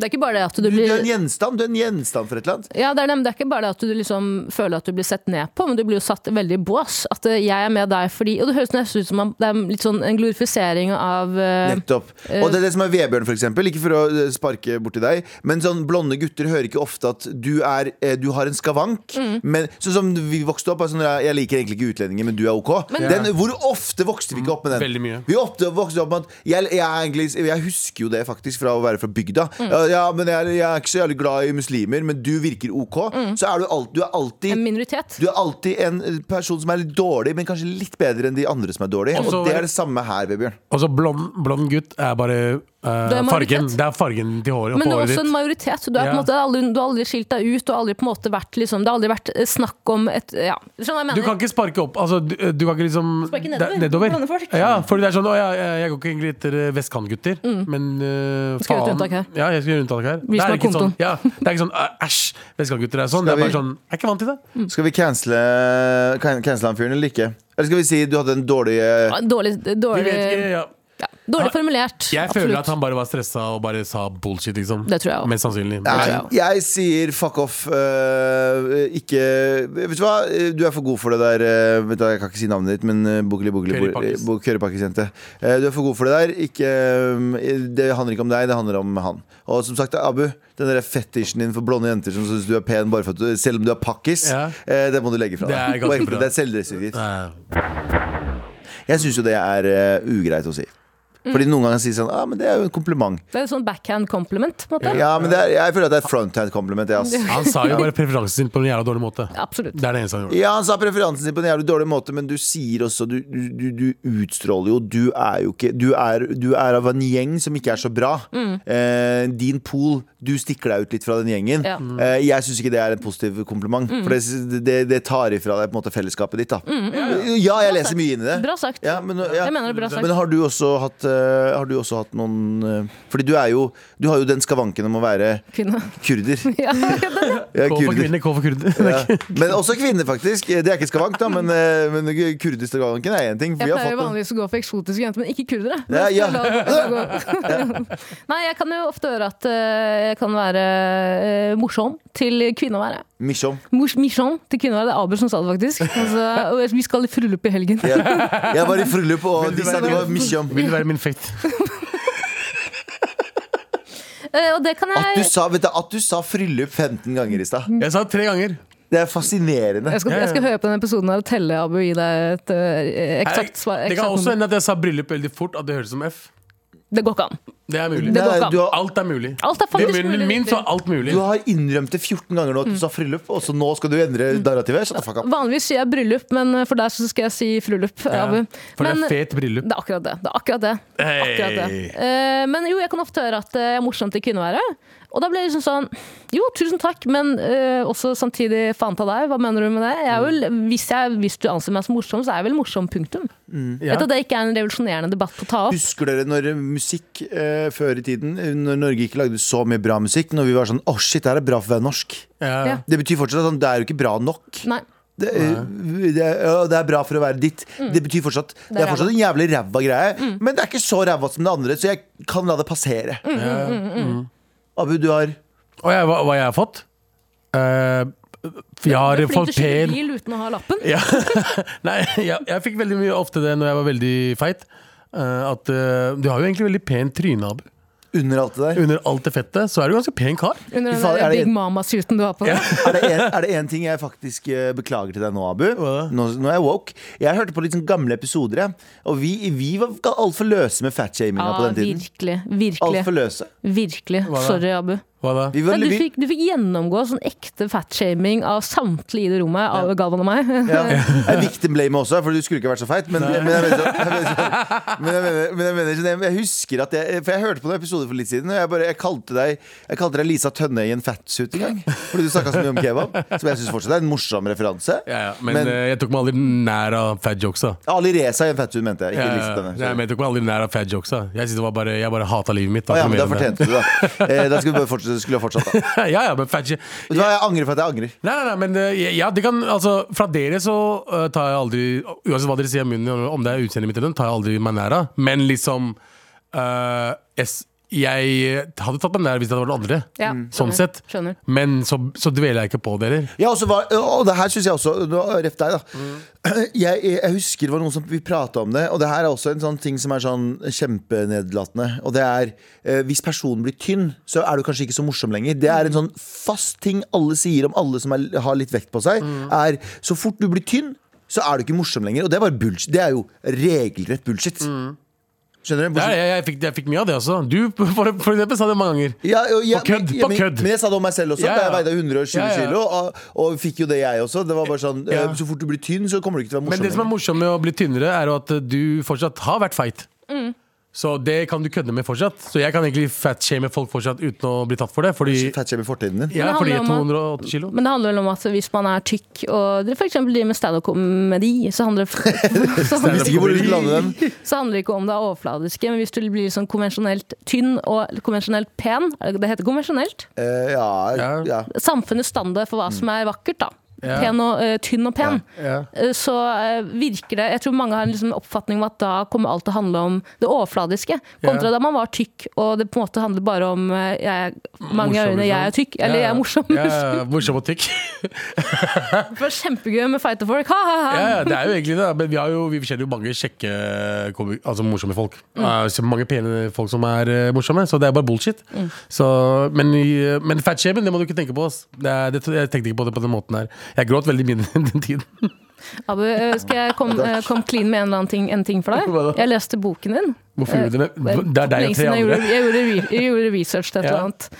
Speaker 3: Det er ikke bare det at du
Speaker 1: Du er en
Speaker 3: blir
Speaker 1: gjenstand. Du er en gjenstand for et eller annet.
Speaker 3: ja, det er, nemlig- det er ikke bare det at du liksom føler at du blir sett ned på, men du blir jo satt veldig i bås. At eh, jeg er med deg fordi Og det høres nesten ut som om det er litt sånn en glorifisering av eh,
Speaker 1: Nettopp. Og det er det som er Vebjørn, for eksempel. Ikke for å eh, sparke borti deg, men sånn blonde gutter hører ikke ofte at du, er, eh, du har en skavank. Men, sånn som vi vokste opp, altså, når jeg- jeg liker egentlig ikke utlendinger, men du er ok. den, hvor ofte vokste vi ikke opp med den?
Speaker 2: Veldig mye.
Speaker 1: Vi ofte vokste opp med at jeg, jeg, er egentlig, jeg husker jo det faktisk fra å være fra bygda. Ja, Ja, men jeg, jeg er ikke så jævlig glad i muslimer, men du virker ok. Så er du, alt, du er alltid
Speaker 3: en minoritet.
Speaker 1: du er alltid en eh, person som er litt dårlig, men kanskje litt bedre enn de andre som er dårlige.
Speaker 2: Også-
Speaker 1: Og det er det samme her, Vebjørn.
Speaker 2: Og så blond, blond gutt er bare eh,
Speaker 3: Det er
Speaker 2: fargen.
Speaker 3: majoritet.
Speaker 2: Det er fargen til håret. på
Speaker 3: Men du er
Speaker 2: håret
Speaker 3: også en
Speaker 2: ditt.
Speaker 3: majoritet. Du, er på en
Speaker 2: Ja.
Speaker 3: måte aldri, du har aldri skilt deg ut. Du har aldri på en måte vært liksom, Det har aldri vært eh, snakk om et Ja, skjønner
Speaker 2: Du
Speaker 3: du hva jeg
Speaker 2: kan
Speaker 3: mener?
Speaker 2: ikke sparke opp altså, du, du kan ikke liksom
Speaker 3: Sparke
Speaker 2: Det
Speaker 3: nedover.
Speaker 2: er
Speaker 3: Blande folk.
Speaker 2: Ja, fordi det er sånn Å ja, jeg, jeg går ikke egentlig etter eh, vestkantgutter, men eh,
Speaker 3: Mm. Skal gjøre et
Speaker 2: faen-
Speaker 3: unntak her.
Speaker 2: Ja, jeg skal gjøre unntak her. Det
Speaker 3: Vi
Speaker 2: er
Speaker 3: som har
Speaker 2: ikke sånn,
Speaker 3: kontoen.
Speaker 2: ja, det er ikke sånn «Æ, Æsj, vestkantgutter er sånn. Det
Speaker 1: Skal
Speaker 2: er bare
Speaker 1: vi-
Speaker 2: sånn Jeg er ikke vant til det.
Speaker 1: Skal vi cancele, can, cancele han fyren eller ikke? Eller skal vi si du hadde en dårlig eh,
Speaker 3: Ja, Dårlig,
Speaker 2: Vi
Speaker 3: dårlig,
Speaker 2: vet ikke, ja.
Speaker 3: ja, dårlig formulert.
Speaker 2: Jeg
Speaker 3: absolutt.
Speaker 2: føler at han bare var stressa og bare sa bullshit, liksom.
Speaker 3: Det tror jeg også.
Speaker 2: Mest sannsynlig.
Speaker 1: Nei,
Speaker 3: ja.
Speaker 1: jeg sier fuck off. eh, ikke Vet du hva, du er for god for det der eh, Vet du hva, Jeg kan ikke si navnet ditt, men eh, Bogli Bogli
Speaker 2: Currypakkis.
Speaker 1: Bo- Currypakkisjente. Eh, Du er for god for det der. Ikke, eh, det handler ikke om deg, det handler om han. Og som sagt, Abu, den der fetisjen din for blonde jenter som syns du er pen bare for at du, selv om du er pakkis,
Speaker 2: Ja.
Speaker 1: eh, det må du legge fra
Speaker 2: Det er
Speaker 1: deg.
Speaker 2: ganske
Speaker 1: Og egentlig,
Speaker 2: bra.
Speaker 1: Det er selvdestruktivt.
Speaker 2: Nei.
Speaker 1: Jeg syns jo det er eh, ugreit å si. Fordi noen ganger sier sånn ah, men det er jo en kompliment.
Speaker 3: Det er et sånn backhand compliment. På en måte.
Speaker 1: Ja, men det er, jeg føler at det er et fronthand-kompliment. Ja, ass.
Speaker 2: Han sa jo bare preferansen sin på en jævla dårlig måte.
Speaker 3: Absolutt.
Speaker 2: Det er det eneste han gjorde.
Speaker 1: ja, han sa preferansen sin på en jævlig dårlig måte, men du sier også Du, du, du, du utstråler jo Du er jo ikke Du er, du er av en gjeng som ikke er så bra. Eh, din pool Du stikker deg ut litt fra den gjengen.
Speaker 3: Ja.
Speaker 1: Eh, jeg syns ikke det er en positiv kompliment, for det, det, det tar ifra deg på en måte fellesskapet ditt. da Ja, jeg leser mye inn i det.
Speaker 3: Mm. Bra sagt.
Speaker 1: Ja, men, ja.
Speaker 3: Jeg mener det er bra sagt.
Speaker 1: men har du også hatt eh, eh, har du også hatt noen eh, Fordi du er jo Du har jo den skavanken om å være
Speaker 3: Kvinne.
Speaker 1: kurder.
Speaker 3: Ja, det-
Speaker 1: Ja,
Speaker 2: K for
Speaker 1: kurder.
Speaker 2: kvinner, K for kurder.
Speaker 1: Ja. Men også kvinner, faktisk. Det er ikke skavank, da, men, eh, men kurderskavanken er én ting. For vi
Speaker 3: jeg
Speaker 1: har
Speaker 3: pleier
Speaker 1: fått den.
Speaker 3: vanligvis å gå for eksotiske jenter, men ikke kurdere.
Speaker 1: Ja, ja.
Speaker 3: La det gå. Nei, jeg kan jo ofte høre at eh, jeg kan være eh, morsom til kvinne å være.
Speaker 1: Misjom.
Speaker 3: Mors Michon til kvinne å være. Det er Abel som sa det, faktisk. Altså, og vi skal i bryllup i helgen.
Speaker 1: Ja. Jeg var i bryllup, og
Speaker 2: Vil du
Speaker 1: de sa
Speaker 2: være-
Speaker 1: det var misjom.
Speaker 2: Vil du være min fate?
Speaker 3: Eh, og det kan
Speaker 1: At du
Speaker 3: jeg
Speaker 1: sa, vet du, at du sa fryllup 15 ganger i stad.
Speaker 2: Jeg sa det tre ganger.
Speaker 1: Det er fascinerende.
Speaker 3: jeg skal, jeg skal høre på den episoden her og telle Abu og gi deg et eh, eksakt svar.
Speaker 2: Det
Speaker 3: eksakt
Speaker 2: kan også
Speaker 3: nummer.
Speaker 2: hende at jeg sa bryllup veldig fort, at det høres ut som F.
Speaker 3: det går ikke an.
Speaker 2: Det er mulig.
Speaker 3: Det går
Speaker 1: Nei,
Speaker 3: ikke an.
Speaker 1: du, har,
Speaker 2: Alt er mulig.
Speaker 3: Alt er faktisk
Speaker 2: Ved
Speaker 3: mulig,
Speaker 2: munnen min
Speaker 3: egentlig.
Speaker 2: så er alt mulig.
Speaker 1: du har innrømt det 14 ganger nå at du sa fryllup, og så nå skal du endre narrativet? Shut the fuck up.
Speaker 3: Vanligvis sier jeg bryllup, men eh, for deg så skal jeg si frullup.
Speaker 2: Ja,
Speaker 3: Abu.
Speaker 2: For det
Speaker 3: Men-
Speaker 2: er fet bryllup.
Speaker 3: Det er akkurat det. det, er akkurat det. Akkurat det.
Speaker 2: Hey.
Speaker 3: Eh, men jo, jeg kan ofte høre at eh, jeg er morsom til kvinneværet. Og da blir jeg liksom sånn Jo, tusen takk, men eh, også samtidig faen ta deg. Hva mener du med det? Jeg er vel, hvis, jeg, hvis du anser meg som morsom, så er jeg vel morsom, punktum.
Speaker 2: Ja.
Speaker 3: Vet du at det ikke er en revolusjonerende debatt å ta opp?
Speaker 1: Husker dere når musikk eh, før i tiden, når Norge ikke lagde så mye bra musikk, når vi var sånn Å, shit, det her er bra for å være norsk.
Speaker 2: Ja.
Speaker 3: Ja.
Speaker 1: Det betyr fortsatt at sånn, det er jo ikke bra nok.
Speaker 3: Nei.
Speaker 1: Det, eh, det, er- ja, det er bra for å være ditt. Det betyr fortsatt Det er
Speaker 3: Mm. ræva. Mm.
Speaker 1: fortsatt en jævlig ræva greie, men det er ikke så ræva som det andre, så jeg kan la det passere.
Speaker 3: mm,
Speaker 1: Abu, du har
Speaker 2: Og jeg, hva, hva jeg har fått? Eh, jeg har
Speaker 3: Du er flink
Speaker 2: fått
Speaker 3: til å kjøre
Speaker 2: pen
Speaker 3: bil uten å ha lappen.
Speaker 2: ja. Nei, jeg, jeg fikk veldig mye ofte det når jeg var veldig feit. eh, at eh, Du har jo egentlig veldig pen tryne, Abu.
Speaker 1: under alt det der.
Speaker 2: Under alt det fettet så er du ganske pen kar.
Speaker 3: Under den
Speaker 1: faen, er
Speaker 3: der
Speaker 1: det
Speaker 3: Big
Speaker 1: en-
Speaker 3: Mama-suiten du har på deg.
Speaker 1: Er det en- Er det én ting jeg faktisk eh, beklager til deg nå, Abu?
Speaker 2: Hva da?
Speaker 1: Nå, nå er jeg woke. Jeg hørte på litt sånn gamle episoder, jeg. Og vi, vi var altfor løse med fatshaminga
Speaker 3: Ja,
Speaker 1: på den tiden.
Speaker 3: virkelig.
Speaker 1: Altfor
Speaker 3: Virkelig.
Speaker 1: løse.
Speaker 3: virkelig.
Speaker 2: da?
Speaker 3: Sorry, Abu.
Speaker 2: Hva da?
Speaker 1: Vi var,
Speaker 3: Nei, du,
Speaker 1: vi,
Speaker 3: fikk, du fikk gjennomgå sånn ekte fatshaming av samtlige i det rommet, av Galvan og meg.
Speaker 1: ja.
Speaker 3: eh,
Speaker 1: Jeg er victim blame også, for du skulle ikke vært så feit. Men, men, jeg, mener, så- jeg, mener, så- men, jeg, mener, men jeg, mener, sånn, jeg- jeg husker at jeg For jeg hørte på noen episoder for litt siden, og jeg, bare, jeg, kalte, deg, jeg kalte deg Lisa Tønne i en fatsuit en gang. Fordi du snakka så mye om kebab. Som jeg syns fortsatt er en morsom referanse.
Speaker 2: Ja, ja, men
Speaker 1: Men-
Speaker 2: eh, jeg tok meg aldri nær av fat jokes. da.
Speaker 1: Ali Reza i en fatsuit, mente jeg. Ikke
Speaker 2: Ja, ja,
Speaker 1: Lisa Tønne.
Speaker 2: ja, men
Speaker 1: sorry.
Speaker 2: jeg tok meg aldri nær av fat jokes. da. Jeg, synes det var bare, jeg bare hata livet mitt.
Speaker 1: Å ja,
Speaker 2: ikke
Speaker 1: men
Speaker 2: mer
Speaker 1: da
Speaker 2: enn det.
Speaker 1: fortjente du det. Eh, da skulle du bare fortsette. Skulle ha fortsatt da.
Speaker 2: ja, ja, men fat jo-
Speaker 1: Vet du hva, jeg angrer for at jeg angrer.
Speaker 2: Nei, nei, nei, men eh, ja, det kan, altså, fra dere så eh, tar jeg aldri Uansett hva dere sier om munnen, om det er utseendet mitt eller noe, tar jeg aldri meg nær av. Men liksom eh, es- Jeg hadde tatt meg nær hvis det hadde vært andre.
Speaker 3: Ja,
Speaker 1: Mm.
Speaker 2: Sånn
Speaker 3: skjønner,
Speaker 2: sett.
Speaker 3: skjønner.
Speaker 2: Men så, så dveler jeg ikke på dere.
Speaker 1: Jeg også var, og det her synes jeg også nå, Ref deg, da. Jeg, jeg husker det var noen som vi prata om det, og det her er også en sånn ting som er sånn kjempenedlatende. Og det er eh, hvis personen blir tynn, så er du kanskje ikke så morsom lenger. Det er en sånn fast ting alle sier om alle som er, har litt vekt på seg, er så fort du blir tynn, så er du ikke morsom lenger. Og det er bare bullshit. Det er jo regelrett bullshit. Skjønner du?
Speaker 2: Ja, jeg, jeg, fikk, jeg fikk mye av det også. Du for, for eksempel sa det mange ganger.
Speaker 1: Ja, og jeg-
Speaker 2: På kødd,
Speaker 1: men-
Speaker 2: på
Speaker 1: men-
Speaker 2: kødd.
Speaker 1: Men jeg sa det om meg selv også.
Speaker 2: Ja, ja.
Speaker 1: Da jeg veide 120
Speaker 2: Ja, ja.
Speaker 1: kilo, og, og fikk jo det jeg også. Det var bare sånn,
Speaker 2: Ja.
Speaker 1: eh, Så fort du blir tynn, så kommer du ikke til å være morsom.
Speaker 2: Men det som er
Speaker 1: lenger.
Speaker 2: morsomt med å bli tynnere, er jo at du fortsatt har vært feit.
Speaker 3: Mm.
Speaker 2: Så det kan du kødde med fortsatt. Så jeg kan egentlig fatshame folk fortsatt uten å bli tatt for det. Fordi
Speaker 1: Fatshaming fortiden din.
Speaker 2: jeg er fordi jeg er
Speaker 3: handler om
Speaker 2: 208 kilo.
Speaker 3: Men det handler vel om at hvis man er tykk og dere for eksempel driver med standup-komedi, så handler det så
Speaker 1: Jeg
Speaker 3: handler
Speaker 1: vet ikke hvor du skulle lande den.
Speaker 3: så handler det ikke om det er overfladiske, men hvis du blir sånn konvensjonelt tynn og konvensjonelt pen, er det det heter konvensjonelt,
Speaker 1: Eh, ja,
Speaker 2: Ja.
Speaker 1: ja.
Speaker 3: samfunnets standard for hva som er vakkert, da.
Speaker 2: Ja.
Speaker 3: Pen og, eh, tynn og pen.
Speaker 2: Ja.
Speaker 3: Eh, så eh, virker det Jeg tror mange har en liksom oppfatning om at da kommer alt til å handle om det overfladiske. Kontra
Speaker 2: Ja.
Speaker 3: da man var tykk og det på en måte handler bare om eh, jeg, er- mange
Speaker 2: Morsom,
Speaker 3: øyne, jeg
Speaker 2: liksom.
Speaker 3: er tykk, eller
Speaker 2: Ja,
Speaker 3: jeg er morsom.
Speaker 2: Ja, ja, morsom og tykk.
Speaker 3: Det var kjempegøy med Fight the Fork. Ha, ha, ha.
Speaker 2: Ja, ja, det er jo egentlig det. da. Men vi, har jo, vi kjenner jo mange kjekke, komi- altså morsomme folk.
Speaker 3: Mm.
Speaker 2: Eh, så mange pene folk som er eh, morsomme, så det er bare bullshit.
Speaker 3: Mm.
Speaker 2: Så, men i- men fatshamen, det må du ikke tenke på. Ass. Det er, det, jeg tenkte ikke på det på den måten her. Jeg gråt veldig mye den tiden.
Speaker 3: Abu, eh, skal jeg komme kom clean med en eller annen ting, en ting for
Speaker 2: Hva
Speaker 3: deg?
Speaker 2: da?
Speaker 3: Jeg leste boken din.
Speaker 2: Hvorfor gjorde du det? Det er deg og tre
Speaker 3: Lenge siden jeg
Speaker 2: andre.
Speaker 3: gjorde, jeg, gjorde, re- jeg gjorde research til et
Speaker 2: Ja.
Speaker 3: eller annet.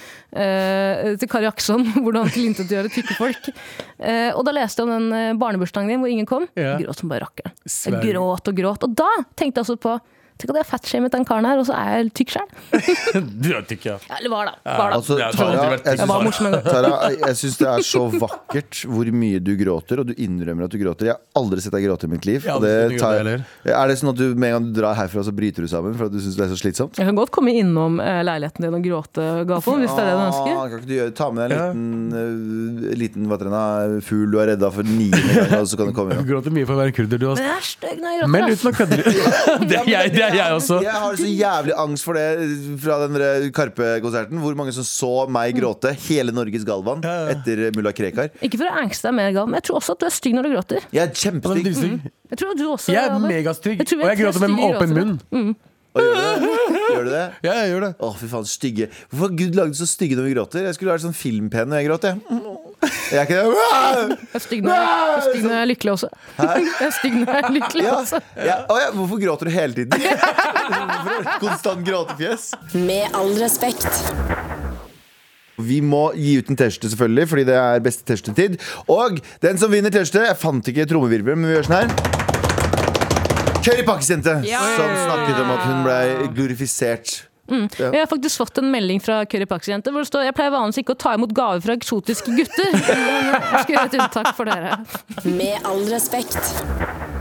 Speaker 3: eh, til Kari Akson, hvordan tilintetgjøre tykke folk. Eh, og da leste jeg om den eh, barnebursdagen din hvor ingen kom.
Speaker 2: Ja.
Speaker 3: Gråt som bare rakkeren. Jeg
Speaker 2: Sverige.
Speaker 3: Gråt og gråt. Og da tenkte jeg altså på Tenk at jeg fatshamet den karen her, og så er jeg tykk sjøl.
Speaker 2: Du er tykk, ja.
Speaker 3: Ja, eller var da. Var da.
Speaker 1: Altså,
Speaker 2: Ja, det har
Speaker 1: Tara,
Speaker 2: aldri vært
Speaker 1: jeg
Speaker 2: Jeg var
Speaker 1: syns,
Speaker 3: morsom en gang.
Speaker 1: Tara, jeg syns det er så vakkert hvor mye du gråter, og du innrømmer at du gråter. Jeg har aldri sett deg gråte i mitt liv.
Speaker 2: Jeg har
Speaker 1: og
Speaker 2: aldri
Speaker 1: det
Speaker 2: sett deg gråte
Speaker 1: tar-
Speaker 2: heller.
Speaker 1: er det sånn at du med en gang du drar herfra, så bryter du sammen for at du syns det er så slitsomt?
Speaker 3: Jeg kan godt komme innom eh, leiligheten din og gråte, Gafo, hvis det er det du
Speaker 1: Ah,
Speaker 3: ønsker.
Speaker 1: kan ikke du gjøre, ta med deg en liten, øh, liten hva heter den da, fugl du er redda for niende gang, og så kan du komme
Speaker 2: Du
Speaker 1: innom.
Speaker 2: gråter mye for å være kurder, du også.
Speaker 3: Men jeg er stygg når jeg gråter. altså.
Speaker 2: Men
Speaker 3: ass.
Speaker 2: uten å kødde. Det er jeg, det er jeg også.
Speaker 1: Jeg har så jævlig angst for det fra den der Karpe-konserten. Hvor mange som så meg gråte, hele Norges Galvan, etter Mulla Krekar.
Speaker 3: Ikke for å angste deg mer, Gal, men jeg tror også at du er stygg når du gråter.
Speaker 1: Jeg er
Speaker 2: Han er
Speaker 1: kjempestygg.
Speaker 2: dritstygg.
Speaker 3: Jeg tror du også Mm.
Speaker 2: Jeg er
Speaker 3: Galvan.
Speaker 2: megastygg,
Speaker 3: Jeg tror
Speaker 2: og
Speaker 3: vi
Speaker 2: jeg
Speaker 3: er tre
Speaker 2: gråter med
Speaker 3: stygge
Speaker 2: åpen
Speaker 3: gråtere.
Speaker 2: munn.
Speaker 1: Og gjør du det? Gjør du det?
Speaker 2: Ja, jeg gjør det.
Speaker 1: Å, fy faen, stygge. Hvorfor har Gud lagd så stygge når vi gråter? Jeg skulle vært sånn filmpen når jeg gråt, jeg. Jeg er ikke det.
Speaker 3: Jeg er stygg når jeg, jeg, er stygg når jeg er lykkelig også. Jeg er stygg når jeg er lykkelig
Speaker 1: Ja.
Speaker 3: også.
Speaker 1: Ja. Å, ja. Hvorfor gråter du hele tiden? Hvorfor er det Konstant gråtefjes.
Speaker 5: Med all respekt.
Speaker 1: Vi må gi ut en T-skjorte, selvfølgelig, fordi det er beste T-skjortetid. Og den som vinner T-skjorte Jeg fant ikke trommevirvelen, men vi gjør sånn her. Currypakkesjente
Speaker 3: Ja.
Speaker 1: som snakket om at hun ble glorifisert.
Speaker 3: Jeg har faktisk fått en melding fra Curry Pax-jente hvor det står jeg pleier vanligvis ikke å ta imot gaver fra eksotiske gutter. Men Jeg skal gjøre et unntak for dere.
Speaker 5: Med all respekt.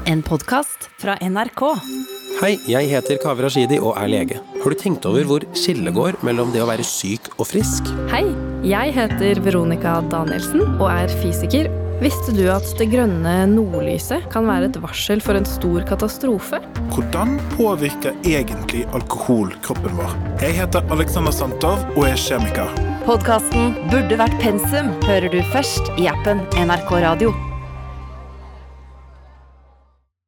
Speaker 4: En podkast fra NRK.
Speaker 7: Hei, jeg heter Kaveh Rashidi og er lege. Har du tenkt over hvor skillet går mellom det å være syk og frisk?
Speaker 8: Hei, jeg heter Veronica Danielsen og er fysiker. Visste du at det grønne nordlyset kan være et varsel for en stor katastrofe?
Speaker 9: Hvordan påvirker egentlig alkohol kroppen vår? Jeg heter Alexander Santov og er kjemiker.
Speaker 4: Podkasten Burde vært pensum hører du først i appen NRK Radio.